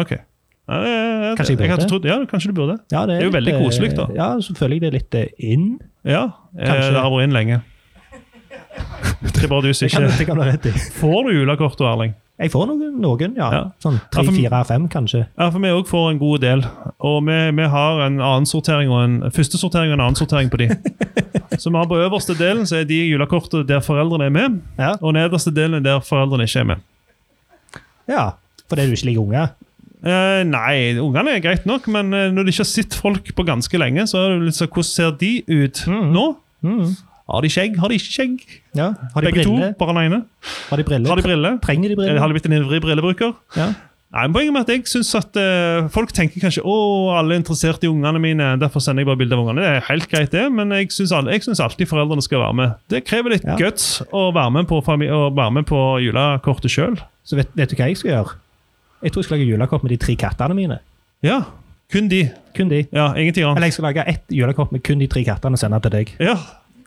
Ok. Ja, det-
Kanskje jeg
hadde
burde?
trodd- Ja, kanskje du burde.
Ja,
Det er jo
litt,
veldig
eh,
koselig, da.
Ja, så føler jeg det er litt eh, in.
Ja, eh,
Kanskje.
det har vært inn lenge. Det er bare du som
Det kan,
ikke
det kan være rett i.
Får du julekort, Erling?
Jeg får noen, noen ja.
Ja.
Sånn
Ja,
tre,
for-
fire, fem, kanskje.
Ja, for vi òg får en god del. Og vi, vi har en annen sortering og en første sortering og en annen sortering på de. Så vi har på øverste delen så er de julekortene der foreldrene er med,
Ja.
og nederste delen er der foreldrene ikke er med.
ja. Fordi du ikke liker unger.
Eh, nei, ungene er greit nok, men eh, når de ikke har sett folk på ganske lenge, så er det litt sånn, hvordan ser de ut nå?
Mm.
Har de skjegg? Har de ikke skjegg?
Ja. Har de
Begge
briller?
to, bare den ene.
Har de briller?
Har de briller?
Trenger de
Eh,
briller?
Har de blitt en ivrig brillebruker?
Ja.
Nei, men Poenget med at jeg synes at eh, folk tenker kanskje å, alle er interessert i ungene mine, derfor sender jeg bare bilde av ungene. Det er helt greit, det, men jeg syns alltid foreldrene skal være med. Det krever litt
Ja.
guts å være med på, fami- å være med på julekortet sjøl.
Så vet, vet du hva jeg skal gjøre? Jeg tror jeg skal lage julekort med de tre kattene mine.
Ja. Kun de.
Kun de.
Ja, ingenting annet.
Eller jeg skal lage ett julekort med kun de tre kattene og sende til deg.
Ja.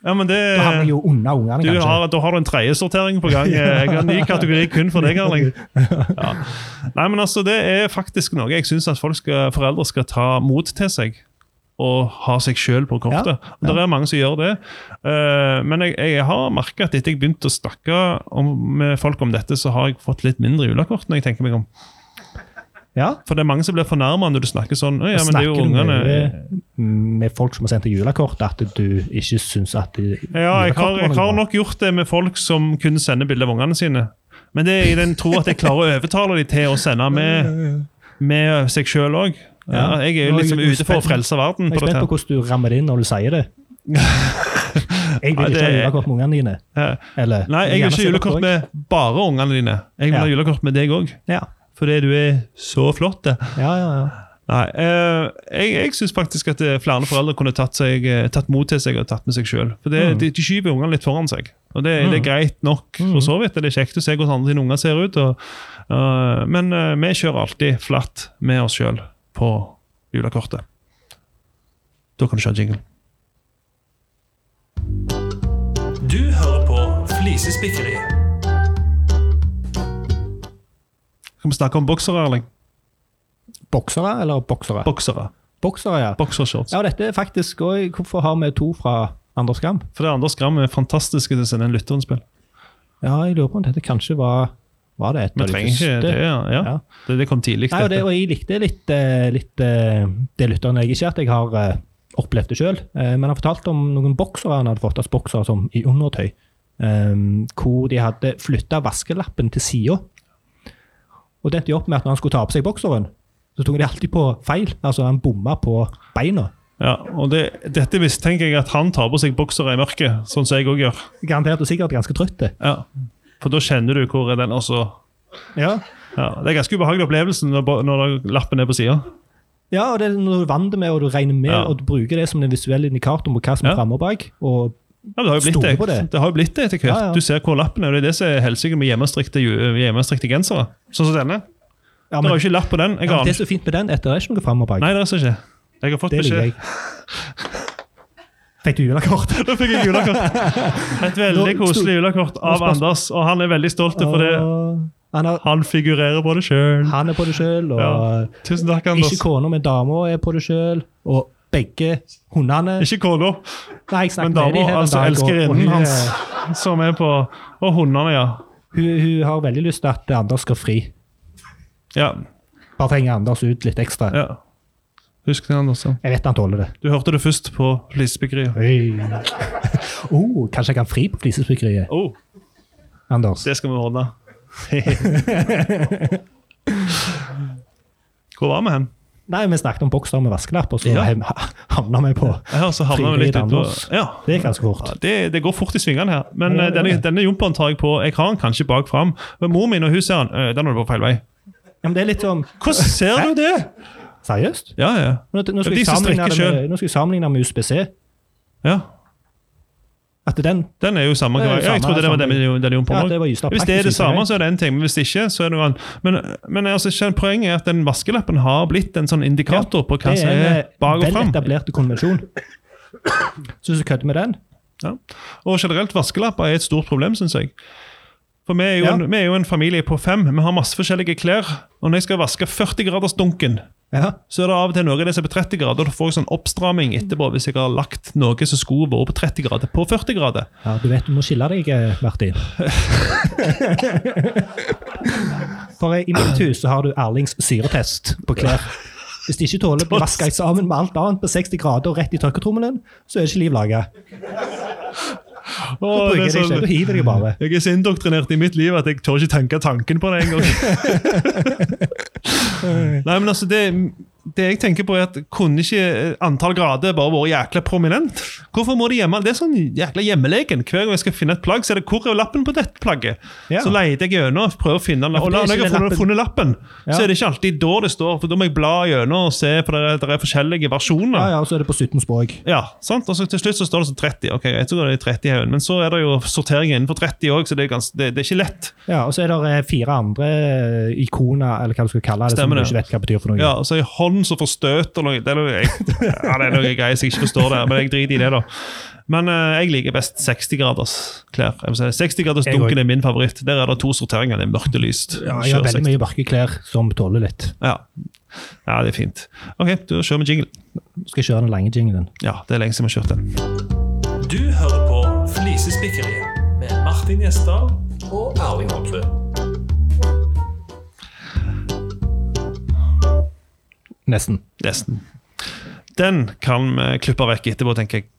ja, men det
Da har vi jo unna ungene,
du
kanskje.
har, Da har du en tredjesortering på gang. Jeg har en ny kategori kun for deg, Erling. Ja. Nei, men altså, Det er faktisk noe jeg syns foreldre skal ta mot til seg. Og ha seg sjøl på kortet. Og Det er mange som gjør det. Eh, men jeg, jeg har merka at etter jeg begynte å snakke om, med folk om dette, så har jeg fått litt mindre julekort. når jeg tenker meg om.
Ja.
For det er mange som blir fornærma når du snakker sånn. «Å, Ja, men det er jo
snakker du
ungene.
Mm, med, med folk som har sendt deg julekort, at du ikke syns at de,
Ja, jeg har,
julekort var
jeg
noe
har
bra?
nok gjort det med folk som kun sender bilder av ungene sine. Men det er i den tro at jeg klarer å overtale dem til å sende med, med seg sjøl òg. Ja,
Ja.
jeg er jo
Nå er
liksom
jeg
ute for å
spent-
frelse verden.
Jeg
på
er spent
dette.
på hvordan du rammer det inn når du sier det. Jeg
Nei,
vil
det
ikke ha
er-
julekort med ungene dine.
Eh,
Eller,
Nei, jeg
gjerne
vil ikke
se
ha
dere
julekort
også.
med bare ungene dine. Jeg vil
Ja.
ha julekort med deg òg,
ja.
fordi du er så flott. det.
ja, ja, ja.
Nei, eh, jeg, jeg syns faktisk at eh, flere foreldre kunne tatt, seg, eh, tatt mot til seg og tatt med seg sjøl.
Mm.
De, de skyver ungene litt foran seg. Og det, det er
Mm.
greit nok,
Mm.
for så vidt. Det er kjekt å se hvordan andre sine unger ser ut. Og, eh, men eh, vi kjører alltid flatt med oss sjøl på julekortet. Da kan du kjøre jingle.
Du hører på Flisespikkeriet.
Skal vi snakke om boksere, Erling?
Boksere eller boksere?
Boksere.
Boksere, ja.
Boksershorts.
Ja, og dette er faktisk også, Hvorfor har vi to fra Anders Gamp?
For det er Anders Gram er fantastisk til å sende en lytterinnspill.
Ja, jeg lurer på om dette kanskje var Var det et
Vi
av de
trenger ikke
første?
det. Ja. Ja.
Ja.
Det, det kom tidlig.
Nei, og, det,
dette.
og jeg likte litt, eh, litt eh, det lytteren Jeg ikke at jeg har eh, opplevd det sjøl, men han fortalte om noen boksere han hadde fått av boksere som i undertøy, eh, hvor de hadde flytta vaskelappen til sida. Og det endte jo opp med at når han skulle ta på seg bokseren, så tok de alltid på feil. Altså, han bomma på beina.
Ja, og det, Dette mistenker jeg at han tar på seg boksere i mørket, sånn som jeg òg gjør.
Garantert og sikkert ganske trøtt.
Ja. For da kjenner du hvor er den også
Ja.
ja, Det er ganske ubehagelig opplevelse når, bo- når lappen er på sida.
ja, og det er når du er vant med og du regner med,
Ja.
og du bruker det som en visuell indikator på hva som er
Ja.
framme og bak. Og
Ja, men det har jo blitt
Store
det.
på det.
Det har jo blitt det etter hvert.
Ja, ja.
Du ser hvor lappen er. og Det er det som er helsike med hjemmestrikte, ju- hjemmestrikte gensere. Sånn som denne.
ja,
det
men,
var jo ikke lapp på den. Jeg
ja, men
aner.
det er så fint med den, etter det er ikke noe fram og bak.
Nei, det er så ikke. Jeg har fått
Det liker
beskjed.
jeg. Fikk du julekort?
Da fikk jeg julekort. Et veldig
Nå-
koselig julekort av
Nå-
Anders, og han er veldig stolt for det.
Og Han, har,
Han figurerer på det sjøl.
han er på det sjøl, og
Ja. Tusen takk, Anders.
ikke kona, men dama er på det sjøl. Og begge hundene
Ikke kona.
Nei, jeg
Men
snakket med de
dama,
her en
altså
dag, og- og
elskerinnen
hun,
hans,
eh,
som er på Og hundene, ja.
Hun, hun har veldig lyst til at Anders skal fri.
Ja.
Bare trenger Anders ut litt ekstra.
ja. Husk det, Anders. ja.
Jeg vet han tåler det.
Du hørte det først på Lisebyggeriet.
Oh, kanskje jeg kan fri på flisespikkeriet,
Å, oh,
Anders?
det skal vi ordne. Hvor var vi hen?
Nei, vi snakket om bokser med vaskelapper, så
Ja.
hem- havna vi på
Her så havna vi litt
Frivillig
utpå.
Anders.
Ja.
Det gikk ganske fort.
Ja, Det, det går fort i svingene her. Men
Ja,
eh,
det gjør
denne,
det.
denne jumperen tar jeg på. Jeg har den kanskje bak fram. Men mor min og hun ser den. «Øh, Den er du på feil vei.
Ja, men det er litt sånn
Hvordan ser du det?
Seriøst?
Ja, ja.
Nå,
Ja,
nå, skal
de
jeg
som
sammenligne
strikker
det med, nå skal jeg sammenligne med USBC.
ja.
At den
Den er jo samme.
Det er jo
ja, jeg
samme,
trodde det var den med den jumperen
Ja,
også.
det var Ystad
Hvis det er det samme, så er det en ting, men hvis det ikke, så er det noe annet. Men, men altså, ikke- poenget er at den vaskelappen har blitt en sånn indikator på hva som
eh,
er bak og
vel
fram.
etablert konvensjon. Så hvis du kødder med den
Ja. Og generelt, vaskelapper er et stort problem, syns jeg. For vi er, jo
Ja.
en, vi er jo en familie på fem. Vi har masse forskjellige klær. Og når jeg skal vaske 40-gradersdunken,
ja.
så er det av og til noe av det som er på 30 grader. og Da får jeg sånn oppstramming etterpå hvis jeg har lagt noe som skulle vært på 30 grader, på 40 grader.
Du vet du må skille deg, eh, Martin. For eh, i mitt hus så har du Erlings syretest på klær. Hvis de ikke tåler å bli vaska sammen med alt annet på 60 grader og rett i tørketrommelen, så er ikke liv laga.
Åh,
Da bruker
det
jeg
er
det ikke.
sånn-
Da hiver jeg bare.
Jeg er så indoktrinert i mitt liv at jeg tør ikke tenke tanken på det engang. Nei, men altså, det, det jeg tenker på er at kunne ikke antall grader bare vært jækla prominent? Hvorfor må de hjemme? Det er sånn jækla hjemmeleken. Hver gang jeg skal finne et plagg, så er det 'hvor er lappen på dette plagget'?
Ja.
Så leter jeg gjennom og prøver å finne den.
Ja, for
Og
det er
når jeg har
ikke
funnet,
lappen.
funnet lappen,
Ja.
så er det ikke alltid da det står, for da må jeg bla gjennom og se, for det er, det er forskjellige versjoner.
Ja, ja, og så er det på 17 språk.
Ja, sant? Og så til slutt så står det sånn 30. Ok, jeg tror det er 30 haugen, Men så er det jo sortering innenfor 30 òg, så det er, gans, det, det er ikke lett.
Ja, Og så er det eh, fire andre eh, ikoner, eller hva du skal kalle det,
Stemmer
som
det.
du ikke vet hva betyr for noe.
Ja, og så er hånd som får støt og noe. Det er noe, jeg, ja, det er noe greier som jeg ikke forstår der, men jeg driter i det, da. Men eh, jeg liker best 60-graders klær. Jeg må si, 60-gradersdunken er min favoritt. Der er det to sorteringer. Det er mørkt og lyst.
Ja, jeg
Kjør
har veldig
60.
mye mørke klær som tåler litt.
Ja. ja, det er fint. OK, da kjører vi jingle.
Nå Skal jeg kjøre den lange jinglen?
Ja, det er lenge siden vi har kjørt den.
Du hører på Flisespikkeriet med Martin Gjesdal og Erling Hoppe.
Nesten.
Nesten. Den kan vi klippe vekk etterpå, tenker jeg.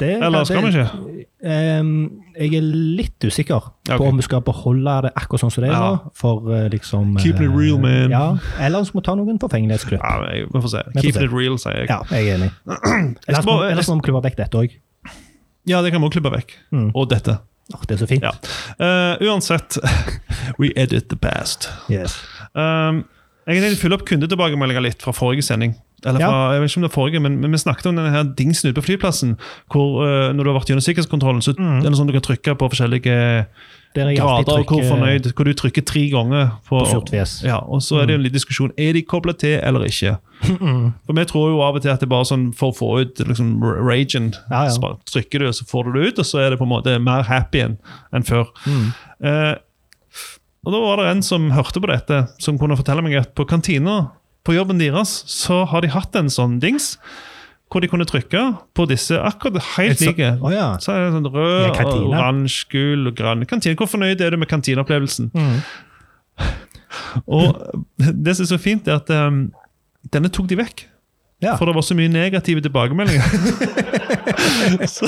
Det,
Eller skal vi ikke?
Ehm, jeg er litt usikker
Ja, ok.
på om vi skal beholde det akkurat sånn som det er
Ja.
nå. For eh, liksom eh,
Keep it real, man.
Ja, eller så må vi ta noen forfengelighetsklipp.
Ja, men jeg- vi får se.
får
Keep
se.
it real, sier jeg.
Ja, jeg er enig. Ellers må
bare-
ellers må vi klippe vekk dette òg.
Ja, det kan vi også klippe vekk.
Mm.
Og dette.
Åh, det er så fint.
Ja. Eh, uansett We edit the past.
Yes.
Um, Jeg har tenkt å fylle opp kundetilbakemeldinger litt fra forrige sending. Eller fra, jeg vet ikke om det er forrige, men, men Vi snakket om denne her dingsen ute på flyplassen. hvor eh, Når du har vært gjennom sikkerhetskontrollen, så
Mm.
er det sånn du kan trykke på forskjellige
Der jeg alltid eh,
grader. og Hvor
trykker-
fornøyd, hvor du trykker tre ganger. På,
På surt fjes.
Ja, og Så er det en liten diskusjon er de kobla til eller ikke. For Vi tror jo av og til at det er bare sånn for å få ut liksom, r- ragen.
Ja, ja.
Så bare trykker du, og så får du det ut, og så er det på en måte mer happy enn enn før.
Mm.
Eh, og da var det en som hørte på dette, som kunne fortelle meg at på kantina på jobben deres så har de hatt en sånn dings hvor de kunne trykke på disse akkurat helt
Et så-
like.
Å ja.
Så er det sånn
Ja,
rød, og
kantina.
oransje, gul og grønn. Kantine, Hvor fornøyd er du med kantineopplevelsen? Og det som er så fint, er at um, denne tok de vekk.
Ja.
For det var så mye negative tilbakemeldinger. så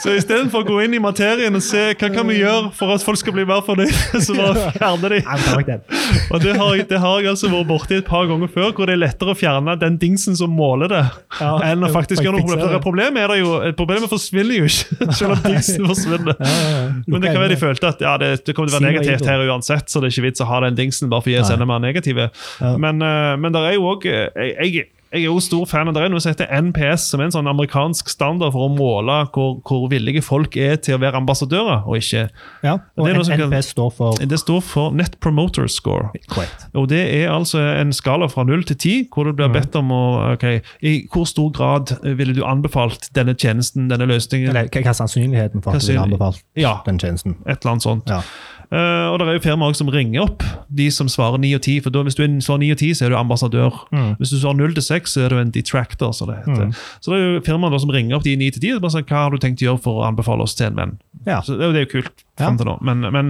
så istedenfor å gå inn i materien og se hva kan vi gjøre for at folk skal bli mer fornøyd, så bare fjerne de.
Nei, men ta vekk den. Eh,
Og det har, jeg- det har jeg altså vært borti et par ganger før, hvor det er lettere å fjerne den dingsen som måler det,
Ja,
enn å faktisk gjøre noe problem.
faktisk er det.
Problemet er det jo, problemet forsvinner jo ikke, selv om dingsen forsvinner. Men det kan være de følte at ja, det, det kommer til å være
Sier
negativt
Ido.
her uansett, så det er ikke vits å ha den dingsen bare for å gi oss
Nei.
enda mer negative.
Ja.
Men, eh, men det er jo òg jeg, jeg jeg er jo stor fan, og det er noe som heter NPS, som er en sånn amerikansk standard for å måle hvor, hvor villige folk er til å være ambassadører og ikke.
Ja, og
Det er noe som kan-
NPS står for
Det står for Net Promoter Score.
Correct.
Og det er altså en skala fra 0 til 10, hvor du blir bedt om å ok, I hvor stor grad eh, ville du anbefalt denne tjenesten, denne løsningen?
Eller hva hva er sannsynligheten for
Hva
at du ville
sannsynlig-
anbefalt
Ja.
den tjenesten?
Et eller annet sånt.
Ja.
Eh, og det er jo firmaer også som ringer opp de som svarer 9 og 10. For da, hvis du er- svarer 9 og 10, så er du ambassadør. Hvis du svarer 0 til 6, så er du en detractor. Så det heter. Så det er jo firmaer da som ringer opp de 9 til 10 og bare sier hva har du tenkt å gjøre for å anbefale oss til en venn.
Ja.
Så det, er jo- det er jo kult fram
Ja.
til nå. Men, men,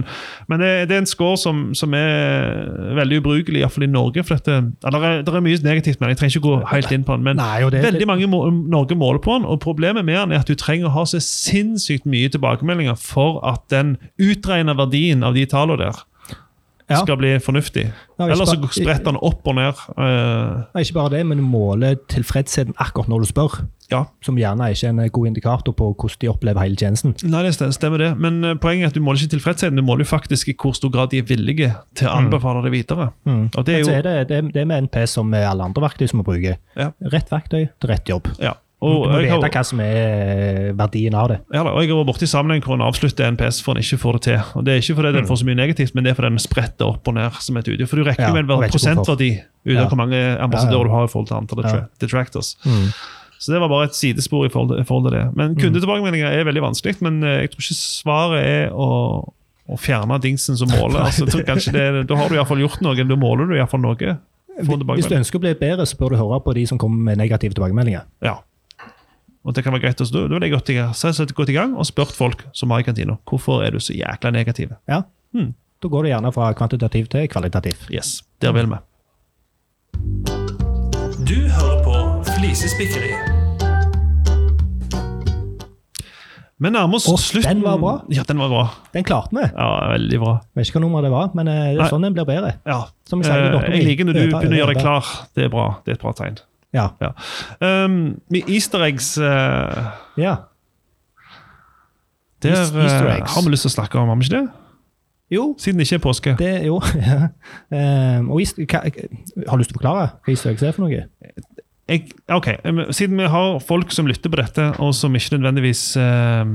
men det, det er en score som, som er veldig ubrukelig, iallfall i Norge. For dette, ja, det, er, det er mye negativt med den. Jeg trenger ikke gå helt inn på den. Men
Nei, og det-
veldig mange må, Norge måler på den, og problemet med den er at du trenger å ha så sinnssykt mye tilbakemeldinger for at den utregna verdien av de tallene der
Ja.
skal bli fornuftig.
Ja, hvis
Ellers så
bare-
spretter den opp og ned. eh,
Nei, Ikke bare det, men måle tilfredsheten akkurat når du spør.
ja.
Som gjerne ikke er en eh, god indikator på hvordan de opplever hele tjenesten.
Nei, det stem- stemmer det. Men eh, poenget er at du måler ikke tilfredsheten, du måler jo faktisk i hvor stor grad de er villige til å anbefale det videre. Og det er
Mm. Men
jo
så er det, det, det er med NPS som med alle andre verktøy som vi bruker.
Ja.
Rett verktøy til rett jobb.
Ja.
Du
Og
må
jeg, har,
vite hva som er eh, verdien av det.
ja, da, og jeg har vært borti sammenheng hvor en avslutter NPS for en ikke får det til. Og Det er ikke fordi
Mm.
den får så mye negativt, men det er fordi den spretter opp og ned. som et utgjør. For du rekker
Ja,
jo vel hver
og vet ikke
prosentverdi ut av
Ja.
hvor mange
Ja, ja.
ambassadører du har i forhold til antall
Ja.
detra- detractors. Så det var bare et sidespor i forhold til, i forhold til det. Men
Mm.
kundetilbakemeldinger er veldig vanskelig, men eh, jeg tror ikke svaret er å å fjerne dingsen som måler. Altså, jeg tror kanskje det, er- da har du i hvert fall gjort noe. Da måler du i hvert fall noe. Få
Hvis du
tilbakemelding.
ønsker å bli bedre, så bør du høre på de som kommer med negative tilbakemeldinger.
Ja. Og det kan være greit. også. Da da ville jeg gått i gang, så jeg satte- gått i gang og spurt folk som var i kantina, hvorfor er du så jækla negativ.
Ja.
Mm.
Da går det gjerne fra kvantitativ til kvalitativ.
Yes, der vil vi.
Du hører på Flisespikkeri.
Vi nærmer oss
Åh,
slutten.
den var bra.
Ja, den var bra.
Den klarte vi.
Ja, veldig bra.
Vet ikke hva nummer det var, men eh, det
Nei.
er sånn den blir bedre.
Ja.
Som jeg sier,
Eh,
dere
jeg liker når du
øver,
begynner å gjøre
øver.
deg klar. Det er bra. Det er et bra tegn.
Ja.
Ja. Um, med easter eggs eh,
ja.
Der
Eas- easter
eh,
eggs.
har vi lyst til å snakke om, har vi ikke det?
Jo,
Siden det ikke er påske.
det Jo. ja. Ehm, og East, hva, har du lyst til å forklare hva Easter eggs er for noe?
jeg, ok, em, Siden vi har folk som lytter på dette, og som ikke nødvendigvis eh,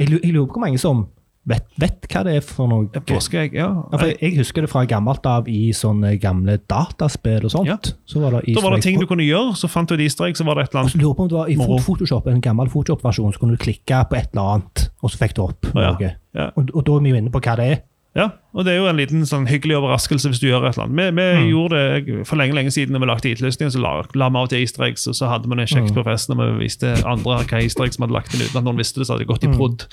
Jeg, lu- jeg lurer på hvor mange som vet, vet hva det er for noe.
er Påskeegg, ja.
Ja, for jeg, jeg husker det fra gammelt av i sånne gamle dataspill og sånt.
Ja.
Så var det
Da var det
Easter
ting
egg.
du kunne gjøre, så fant du et easter egg, så var det et eller
Og så
annet.
lurer jeg på om det var i
Moro.
Photoshop, en gammel Photoshop-versjon, så kunne du klikke på et eller annet, og så fikk du opp
Ja,
noe.
ja.
Og, og da er vi jo inne på hva det er.
Ja, og det er jo en liten sånn hyggelig overraskelse hvis du gjør et eller annet. Vi,
Mm.
vi gjorde det for lenge lenge siden da vi lagde IT-løsningen, så la, la vi av til easter eggs, og så hadde vi det
Mm.
kjekt på festen, og vi viste andre hva easter eggs vi hadde lagt inn uten at noen visste det, så hadde det gått
Mm.
i brodd.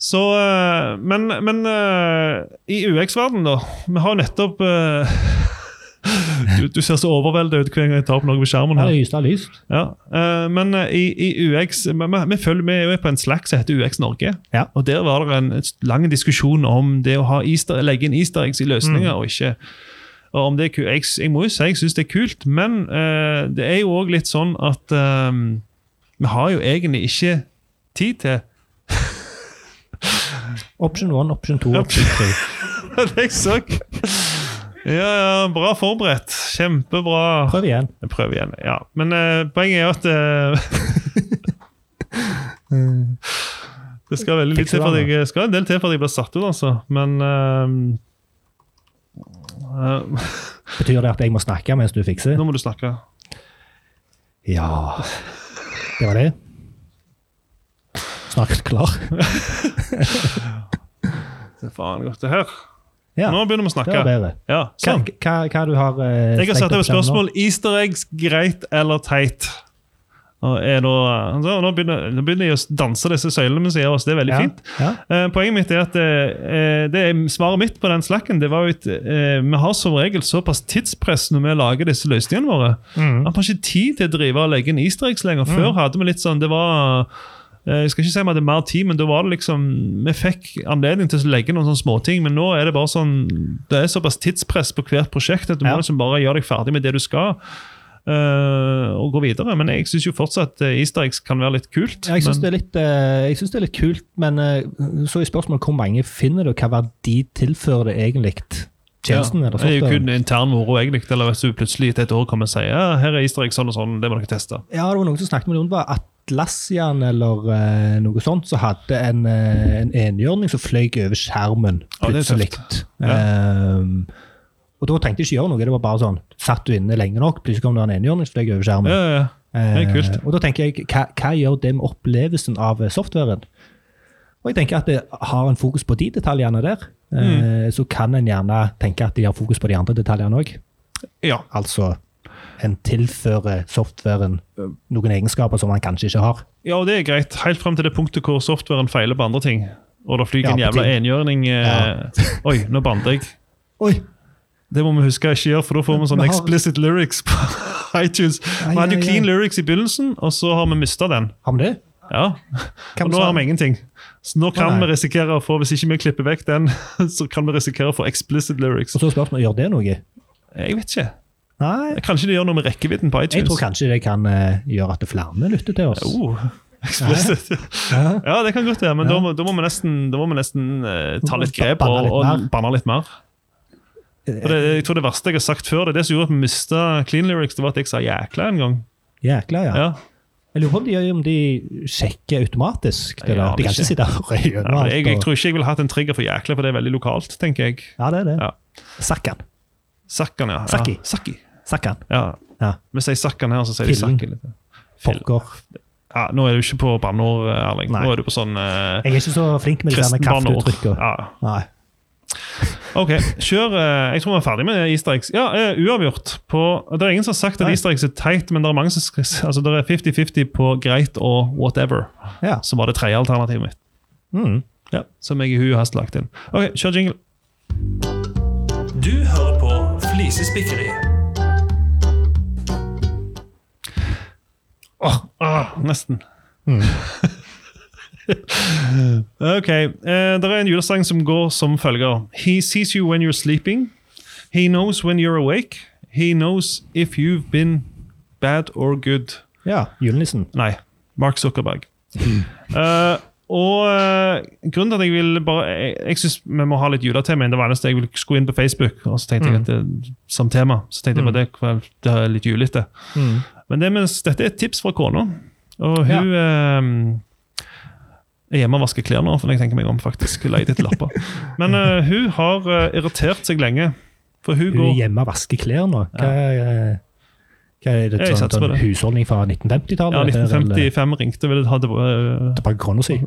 Så, eh, men, men eh, i UX-verdenen da, vi har jo nettopp eh, du, du ser så overveldet ut hver gang jeg tar opp noe på skjermen
Ja,
her.
det er Ystad lyst.
Ja, eh, men eh, i, i UX, vi, vi, vi følger med jo på en slack som heter UX Norge.
Ja.
Og Der var det en lang diskusjon om det å ha easter, legge inn easter eggs i løsninger og ikke. Og om det er ku- jeg, jeg må jo si jeg syns det er kult, men eh, det er jo òg litt sånn at eh, vi har jo egentlig ikke tid til
Option 1, option 2,
Ja.
option 3.
det jeg så. Ja, ja, bra forberedt. Kjempebra.
Prøv igjen.
Jeg prøver igjen, ja. Men eh, poenget er jo at eh, Det skal veldig litt til for at jeg skal en del til for at jeg blir satt ut, altså. Men eh, eh,
Betyr det at jeg må snakke mens du fikser?
Nå må du snakke.
Ja Det var det. Snart klar.
Se faen godt det her.
Ja,
Nå begynner vi å
det var
snakke.
bedre.
Ja,
Hva,
sånn.
hva, hva du har eh,
Jeg har
strengt
satt
opp
over
skjermen nå?
spørsmål. Easter eggs, greit eller teit? Og er da, eh, så, nå, begynner, nå begynner jeg å danse disse søylene vi sier oss. Det er veldig
Ja,
fint.
Ja.
Eh, poenget mitt er at eh, det er svaret mitt på den slacken det var jo at eh, vi har som regel såpass tidspress når vi lager disse løsningene våre.
Mm.
Man får ikke tid til å drive og legge inn easter eggs lenger. Før hadde vi litt sånn Det var eh, jeg skal ikke si vi hadde mer tid, men da var det liksom Vi fikk anledning til å legge noen sånne småting, men nå er det bare sånn Det er såpass tidspress på hvert prosjekt at du
Ja.
må liksom bare gjøre deg ferdig med det du skal, eh, og gå videre. Men jeg syns jo fortsatt eh, easter eggs kan være litt kult.
Ja, jeg syns
men-
det, er litt, eh, jeg synes det er litt kult, men eh, så er spørsmålet hvor mange finner du, og hva verdi tilfører det egentlig tjenesten?
Ja,
eller
det er jo
softwaren?
kun intern moro, egentlig. Eller hvis du plutselig etter et år kommer og sier ja, her er easter egg sånn og sånn, det må dere teste.
Ja, det var noen som snakket med noen, det var Atlassian eller eh, noe sånt, som hadde en, eh, en enhjørning som fløy over skjermen
Ja, det er
plutselig.
tøft.
Ehm, og da trengte jeg ikke gjøre noe, det var bare sånn, satt du inne lenge nok, plutselig kom det en enhjørning som fløy over skjermen.
Ja, ja, ja. det er kult.
Eh, og da tenker jeg, hva, hva gjør det med opplevelsen av eh, softwaren? Og jeg tenker at det har en fokus på de detaljene der,
Mm.
eh, så kan en gjerne tenke at de har fokus på de andre detaljene òg.
Ja,
Altså, en tilfører softwaren noen egenskaper som han kanskje ikke har.
ja, og det er greit. Helt frem til det punktet hvor softwaren feiler på andre ting. Og da flyger
Ja,
en
på
jævla
ting.
enhjørning eh, Oi, nå bandet jeg.
Oi!
Det må vi huske å ikke gjøre, for da får vi sånne
Vi har-
explicit lyrics på iTunes. Vi
Ai,
hadde jo
ai,
clean
ai.
lyrics i begynnelsen, og så har vi mista den.
Har vi det?
Ja,
Kan
Og
vi
nå
ta-
har vi ingenting. Så nå kan
Nei.
vi risikere å få, hvis ikke vi klipper vekk den, så kan vi risikere å få explicit lyrics.
Og så er spørsmålet gjør det noe.
Jeg vet ikke.
Nei,
Kanskje det gjør noe med rekkevidden på iTunes?
jeg tror kanskje det kan eh, gjøre at flere lytter til oss.
Oh, explicit. Ja, det kan godt være, men da, må, da må vi nesten, da må vi nesten eh, ta litt grep
Banne
og,
litt
og
mer.
banne litt mer. For det, jeg tror det verste jeg har sagt før, det er det som gjorde at vi mista Clean Lyrics, det var at jeg sa 'jækla' en gang.
Jækla, ja.
Ja.
Jeg lurer på om de, gjør- om de sjekker automatisk. Det
Jeg
der.
aner
De kan
ikke.
ikke sitte og høre
Ja,
gjennom
men
alt.
jeg, jeg
og-
tror ikke jeg ville hatt en trigger for 'jækla', for det er veldig lokalt, tenker jeg.
Ja, det er det.
Ja.
Sakkan.
Sakkan, ja. ja.
Sakki.
Sakki.
Sakkan.
Ja.
Ja.
Vi sier 'sakkan' her, så sier de
Fillen.
'sakki' litt. Fill.
Pokker.
Ja, nå er du ikke på banneord, Erling.
Nei.
Nå er du på sånn uh,
Jeg er ikke så flink med de der med
kristenbanneord.
kraftuttrykket.
Ja.
Nei.
Ok, kjør. eh, Jeg tror vi er ferdig med easter eggs. Ja, eh, uavgjort. På, det er ingen som har sagt at
Nei.
easter eggs er teit, men det er mange som sk- altså det er 50-50 på greit og whatever,
Ja.
som var det tredje alternativet mitt.
Mm.
Ja, Som jeg i hu og hast lagt inn. Ok, kjør jingle.
Du hører på Flisespikkeriet.
Åh, ah, nesten. ok, eh, det er en julesang som går som følger. He sees you when you're sleeping. He knows when you're awake. He knows if you've been bad or good.
ja. Julenissen.
Nei, Mark Zuckerberg. Eh, og eh, grunnen til at jeg vil bare Jeg, jeg syns vi må ha litt juletema inn. Det var eneste jeg ville skulle inn på Facebook og så
Mm.
tenkte jeg at det, som tema. Så tenkte jeg på det, vel, det er litt julete.
Mm.
Men det med, dette er et tips fra kona. Og
Ja.
hun eh, er hjemme og vasker klær nå, for jeg tenker meg om faktisk. Hun leier etter lapper. Men eh, hun har eh, irritert seg lenge. For hun,
Hun er
går
hjemme og vasker klær nå. Hva, eh, hva er det
Jeg
sånn,
satser på
sånn
det.
husholdning fra 1950-tallet?
Ja,
Eller-
1955 ringte, ville ha det eh,
Det er bare kroner si.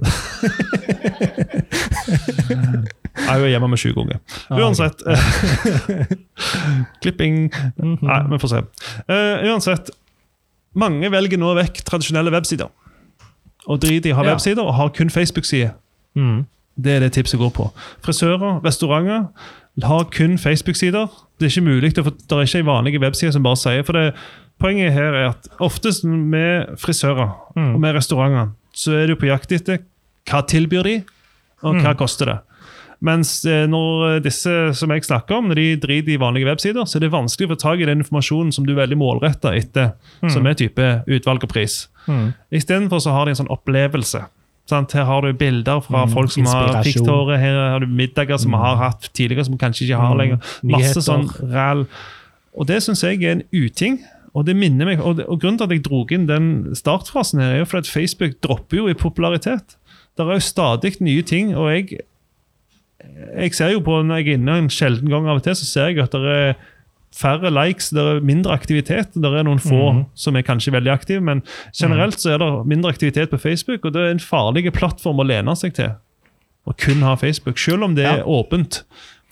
Nei, hun er hjemme med sju unger. Uansett eh, Klipping Nei, vi får se. Eh, uansett Mange velger nå vekk tradisjonelle websider. Og driter i å ha
Ja.
websider og har kun Facebook-side.
Mm.
Det er det tipset går på. Frisører, restauranter har kun Facebook-sider. Det er ikke mulig, å få- det er ikke en vanlig webside som bare sier For det, poenget her er at oftest med frisører og med restauranter, så er du på jakt etter hva tilbyr de, og hva koster det. Mens eh, når disse som jeg snakker om, når de driter i vanlige websider, så er det vanskelig å få tak i den informasjonen som du er veldig målretta etter, som er type utvalg og pris.
Mm.
Istedenfor så har de en sånn opplevelse. Sant? Her har du bilder fra
Mm,
folk som har
inspirasjon.
pikthåret, her har du middager som vi har hatt tidligere, som vi kanskje ikke har
Mm,
lenger. Masse
nyheter.
sånn ræl. Og det syns jeg er en uting. Og det minner meg, og, det, og grunnen til at jeg dro inn den startfrasen, her er jo fordi at Facebook dropper jo i popularitet. Det er jo stadig nye ting, og jeg jeg ser jo på når jeg er inne en sjelden gang av og til, så ser jeg at det er færre likes, det er mindre aktivitet. Det er noen få
Mhm.
som er kanskje veldig aktive, men generelt så er det mindre aktivitet på Facebook, og det er en farlig plattform å lene seg til. Å kun ha Facebook, selv om det
Ja.
er åpent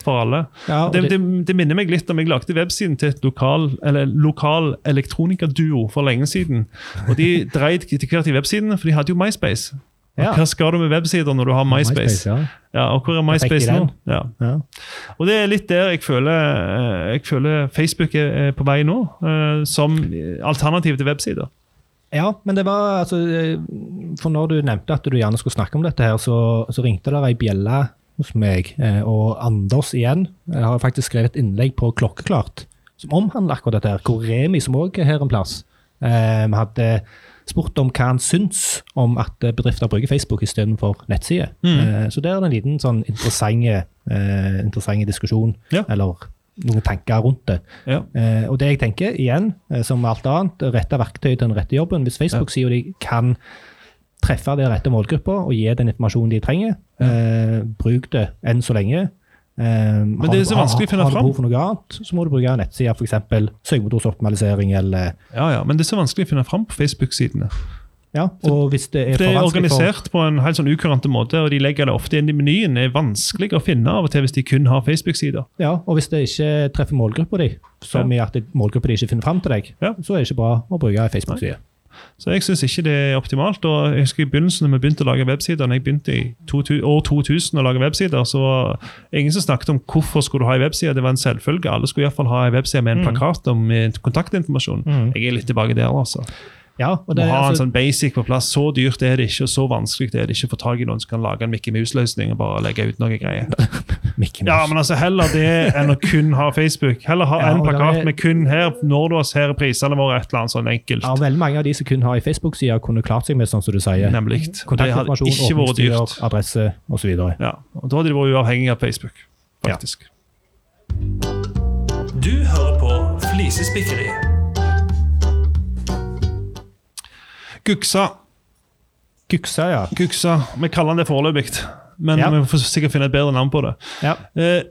for alle.
Ja, og
det,
det-
det, det minner meg litt om jeg lagde websiden til et lokal, eller lokal elektronikerduo for lenge siden. Og de dreide etter hvert i websidene, for de hadde jo MySpace. Og
Ja.
Hva skal du med websider når du har MySpace?
ja.
Ja, og hvor er
fikk
MySpace
de
nå?
den.
Ja.
Ja.
Og det er litt der jeg føler, eh, jeg føler Facebook er er på vei nå, eh, som alternativ til websider.
ja, men det var altså eh, For når du nevnte at du gjerne skulle snakke om dette, her, så, så ringte det ei bjelle hos meg. eh, Og Anders igjen jeg har faktisk skrevet et innlegg på Klokkeklart som omhandler akkurat dette. her, Hvor Remi, som òg er her en plass, eh, hadde spurt om hva han syns om at eh, bedrifter bruker Facebook istedenfor nettsider. Eh, Så der er det en liten sånn interessant, eh, interessant diskusjon,
Ja.
eller noen tanker rundt det.
Ja.
Eh, og det jeg tenker, igjen, eh, som alt annet, rette verktøy til den rette jobben. Hvis Facebook sier de kan treffe den rette målgruppa og gi den informasjonen de trenger, eh, bruk det enn så lenge. Men
det er så vanskelig å finne
Har du
fram.
behov for noe annet, så må du bruke nettsider, f.eks. søkemotorsoptimalisering eller
Ja, ja, Men det er så vanskelig å finne fram på Facebook-sidene.
Ja, og hvis det er
For Det er
for vanskelig for
organisert på en helt sånn ukurant måte, og de legger det ofte inn i menyen. Det er vanskelig å finne av og til hvis de kun har Facebook-sider.
Ja, og hvis det ikke treffer målgruppa di, som i at det- målgruppa di ikke finner fram til deg,
Ja.
så er det ikke bra å bruke ei Facebook-side.
Så jeg syns ikke det er optimalt. og jeg husker I begynnelsen når vi begynte å lage websider, når jeg begynte i 2000, år 2000 å lage websider, så var det ingen som snakket om hvorfor skulle du ha en webside. Det var en selvfølge. Alle skulle iallfall ha en webside
Mm.
med en plakat om eh, kontaktinformasjon. Jeg er litt tilbake der, altså.
Ja, og
Må
det,
ha en
Mm. altså,
sånn basic på plass. Så dyrt er det ikke, og så vanskelig er det ikke å få tak i noen som kan lage en Mickey Mouse-løsning og bare legge ut noe greier.
Mickey
Ja,
Mouse.
men altså Heller det enn å kun ha Facebook. Heller ha
Ja,
en
og det
plakat
er-
med kun her, når du har her er prisene våre, et eller annet sånn enkelt.
Ja, veldig mange av de som kun har ei Facebook-side, kunne klart seg med sånn som du sier.
Nemlig. Det hadde
Kontaktinformasjon,
ikke vært dyrt.
åpningstider, adresse osv.
Ja, og Da hadde de vært uavhengige av Facebook. faktisk.
Du hører på Flisespikkeriet.
Guksa.
Guksa, ja.
Guksa. Vi kaller den det foreløpig, men
Ja.
vi får sikkert finne et bedre navn på det.
ja.
Eh,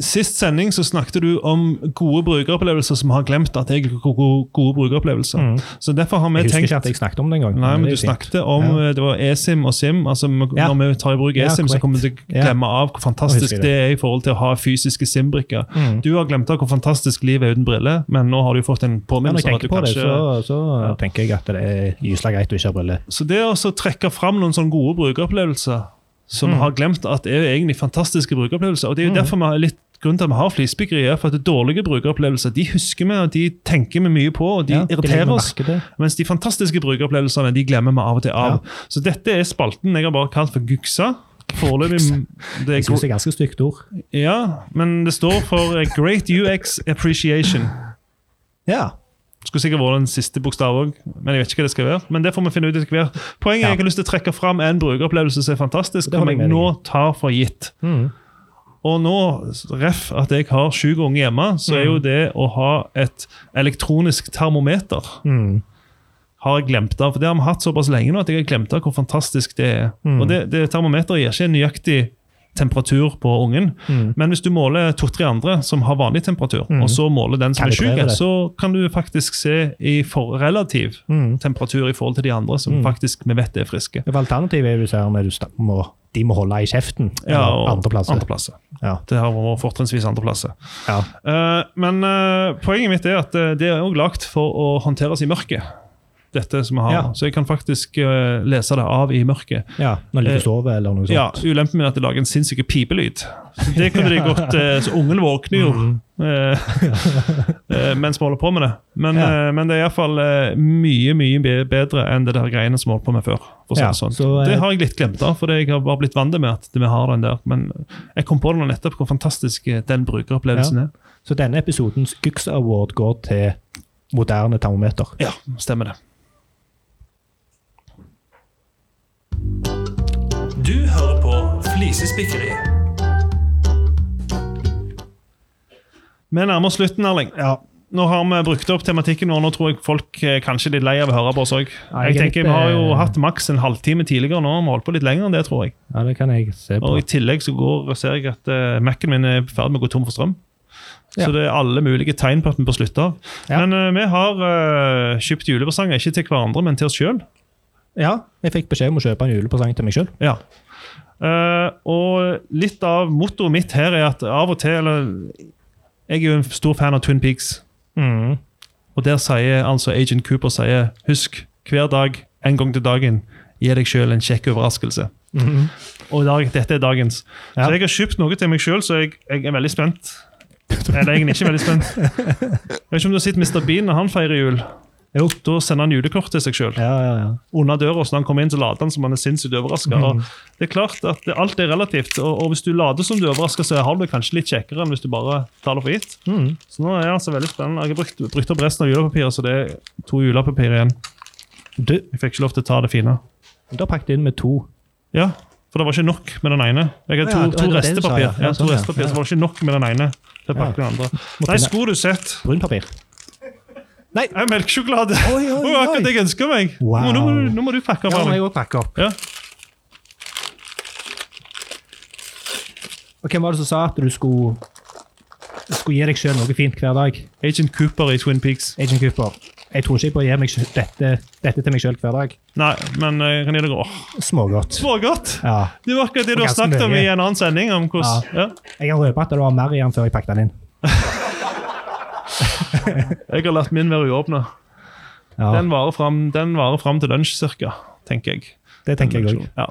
sist sending så snakket du om gode brukeropplevelser som har glemt at jeg er gode, gode brukeropplevelser. Så derfor har vi
Mm. Jeg husker
tenkt
ikke at jeg snakket om det engang.
Nei, men
det er
du
fint.
snakket om
Ja.
eh, det var eSIM og SIM. altså m-
Ja.
Når vi tar i bruk
Ja,
eSIM, så
korrekt.
kommer vi til å
Ja.
glemme av hvor fantastisk
husker Mm.
det er i forhold til å ha fysiske SIM-brikker. Du har glemt av hvor fantastisk livet er uten briller, men nå har du fått en
Men når
påminnelse
jeg
om at du
tenker på det,
kanskje
så, så tenker jeg at det er gysla greit å ikke ha briller.
Så det å så trekke fram noen sånne gode brukeropplevelser
Mm.
som har glemt at er jo egentlig fantastiske brukeropplevelser, og det er jo derfor vi har litt grunnen til at vi har flisspikkeri, er for at det er dårlige brukeropplevelser de husker vi, og de tenker vi mye på, og de
Ja, de legger
irriterer oss.
merke til.
Mens de fantastiske brukeropplevelsene de glemmer vi av og til av. Så dette er spalten jeg har bare kalt for Guksa. Foreløpig det
Jeg
er,
syns det er ganske stygt ord.
Ja, men det står for eh, Great UX Appreciation.
Ja.
Skulle sikkert vært den siste bokstav òg, men jeg vet ikke hva det skal være. Men det får vi finne ut etter hvert. Poenget er
Ja.
at jeg har lyst til å trekke fram en brukeropplevelse som er fantastisk,
Det
som
holder
jeg
jeg med Mm.
nå tar for gitt. Og nå, ref at jeg har sju unger hjemme, så er jo
Mm.
det å ha et elektronisk termometer
Mm.
har jeg glemt av. For det har vi hatt såpass lenge nå at jeg har glemt av hvor fantastisk det er.
Mm.
Og det, det termometeret gir ikke en nøyaktig temperatur på ungen,
Mm.
men hvis du måler to-tre andre som har vanlig temperatur, og så måler den som er syk,
Kalibrerer det.
så kan du faktisk se i for relativ
Mm.
temperatur i forhold til de andre som faktisk vi vet er friske.
For Alternativet er jo så her når du sta- må, de må holde i kjeften.
Ja,
eller
og
andre plasser.
andreplasser.
Ja.
Det har vært fortrinnsvis andreplasser.
ja.
Eh, men eh, poenget mitt er at eh, det er òg lagd for å håndteres i mørket. Dette som jeg har.
Ja.
Så jeg kan faktisk eh, lese det av i mørket.
ja. Når de
Eh,
ligger og sover eller noe sånt.
Ja, Ulempen min er at det lager en sinnssyk pipelyd. Så Det kunne de godt eh, Så ungen våkner jo
Mm.
eh, eh, mens vi holder på med det. Men,
Ja.
eh, men det er iallfall uh, mye mye be- bedre enn det der greiene som vi holdt på med før. For å si
Ja,
det sånn.
så, eh,
det har jeg litt glemt av, for jeg har bare blitt vant med at vi har den der. Men jeg kom på det nå nettopp hvor fantastisk eh, den brukeropplevelsen
Ja.
er.
Så denne episodens Gux Award går til moderne termometer.
Ja, stemmer det.
Flisespikkeriet.
Vi nærmer oss slutten, Erling.
Ja.
Nå har vi brukt opp tematikken vår. Nå tror jeg folk eh, kanskje er litt lei av å høre på oss òg.
Ja,
Jeg
jeg er
tenker
litt,
Vi har jo
eh,
hatt maks en halvtime tidligere nå. Vi har holdt på litt lenger enn det, tror jeg.
ja, det kan jeg se på.
Og i tillegg så går, ser jeg at uh, Mac-en min er i ferd med å gå tom for strøm.
Ja.
Så det er alle mulige tegn på at vi bør slutte av.
Ja.
Men eh, vi har eh, kjøpt julepresanger, ikke til hverandre, men til oss sjøl.
Ja, jeg fikk beskjed om å kjøpe en julepresang til meg sjøl.
Ja. Eh, og litt av mottoet mitt her er at av og til eller, Jeg er jo en stor fan av Twin Peaks.
Mm.
Og der sier altså Agent Cooper sier, Husk, hver dag, en gang til dagen, gi deg sjøl en kjekk overraskelse. Og i dag, dette er dagens.
Ja.
Så jeg har kjøpt noe til meg sjøl, så jeg, jeg er veldig spent. Eller egentlig ikke veldig spent. Jeg vet ikke om du har sett Mr. Bean når han feirer jul.
Jo.
Da sender han julekort til seg sjøl.
Ja, ja, ja.
Under døra, så når han kommer inn, så later han som han er sinnssykt overraska.
Mhm.
Det er klart at det- alt er relativt, og, og hvis du later som du er overraska, så har du det kanskje litt kjekkere enn hvis du bare tar det for gitt.
Mhm.
Så nå er jeg altså veldig spennende. Jeg har brukt, brukt opp resten av julepapiret, så det er to julepapir igjen.
Du,
Jeg fikk ikke lov til å ta det fine.
da pakket jeg inn med to.
Ja, for det var ikke nok med den ene. Jeg hadde to, to
Å ja, det var det du sa,
restepapir,
ja. Ja,
ja, to
sånn, ja.
restepapir så var det ikke nok med den ene. til å pakke den andre. Nei,
finne-
skulle du sett.
Brunpapir. Nei!
Jeg har melkesjokolade! Det
Oi, oi,
var jo akkurat det jeg ønsker meg.
Wow.
Nå, nå, må du, nå må du pakke
Ja,
opp.
må
Erling.
jeg òg pakke opp.
Ja.
Og hvem var det som sa at du skulle, skulle gi deg sjøl noe fint hver dag?
Agent Cooper i Twin Peaks.
Agent Cooper. Jeg tror ikke på å gi meg selv- dette, dette til meg sjøl hver dag.
Nei, men eh, jeg kan gi deg åh,
Smågodt.
Smågodt!
Ja.
Det var akkurat det du har
Ganske
snakket om i
mye.
en annen sending. om hvordan... Ja.
Jeg kan røpe at det var mer i den før jeg pakket den inn.
Jeg har latt min være uåpna.
Ja,
Den varer fram, den varer fram til lunsj, cirka, tenker jeg.
det tenker jeg òg.
Ja.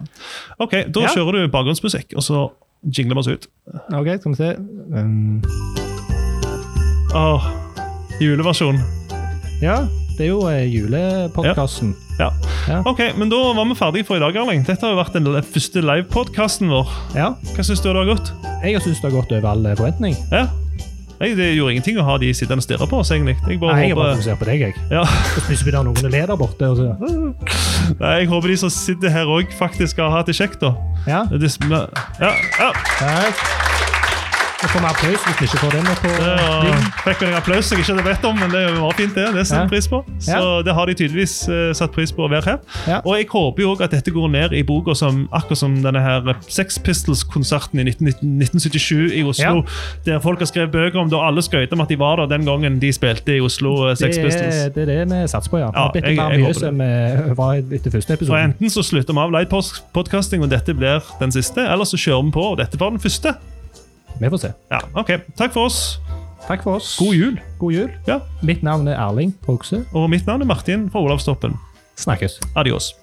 Ok, da
Ja.
kjører du bakgrunnsmusikk, og så jingler vi oss ut.
OK, skal vi se. Um,
Åh, juleversjon.
ja, det er jo eh, julepodkasten.
Ja.
Ja.
Ok, men da var vi ferdige for i dag, Erling. Dette har jo vært den le- første livepodkasten vår.
Ja.
Hva syns du det har gått?
Jeg har syntes det har gått over all eh, forventning.
Ja. Jeg, det gjorde ingenting å ha de sittende og stirre på oss, egentlig. Jeg bare
Nei, jeg har bare
håper
fokusert på deg, jeg.
ja.
Så plutselig blir det noen leder borte. Og så.
Nei, jeg håper de som sitter her òg, faktisk har hatt det kjekt, da.
Ja,
Det, er sm- ja, ja.
takk. Nå får vi applaus hvis vi ikke får det med på
Det var, fikk en applaus jeg ikke hadde bedt om, men det var fint, det. Det setter
Ja.
jeg pris på. Så
Ja.
det har de tydeligvis eh, satt pris på å være her.
Ja.
Og jeg håper jo også at dette går ned i boka som akkurat som denne her eh, Sex Pistols-konserten i 1919 1977 i Oslo, der folk har skrevet bøker om da alle skrøt om at de var der den gangen de spilte i Oslo eh,
Det
Sex Pistols.
er, det er det vi satser på, ja.
Ja,
Litt
jeg- jeg
mer mye
håper det.
som eh, var etter første
Og
episode.
Enten så slutter vi av livepodkasting, og dette blir den siste, eller så kjører vi på, og dette var den første.
Vi får se.
Ja, ok. Takk for oss.
Takk for oss.
God jul.
God jul.
Ja.
Mitt navn er Erling Hogse.
Og mitt navn er Martin fra Olavstoppen.
Snakkes.
Adios.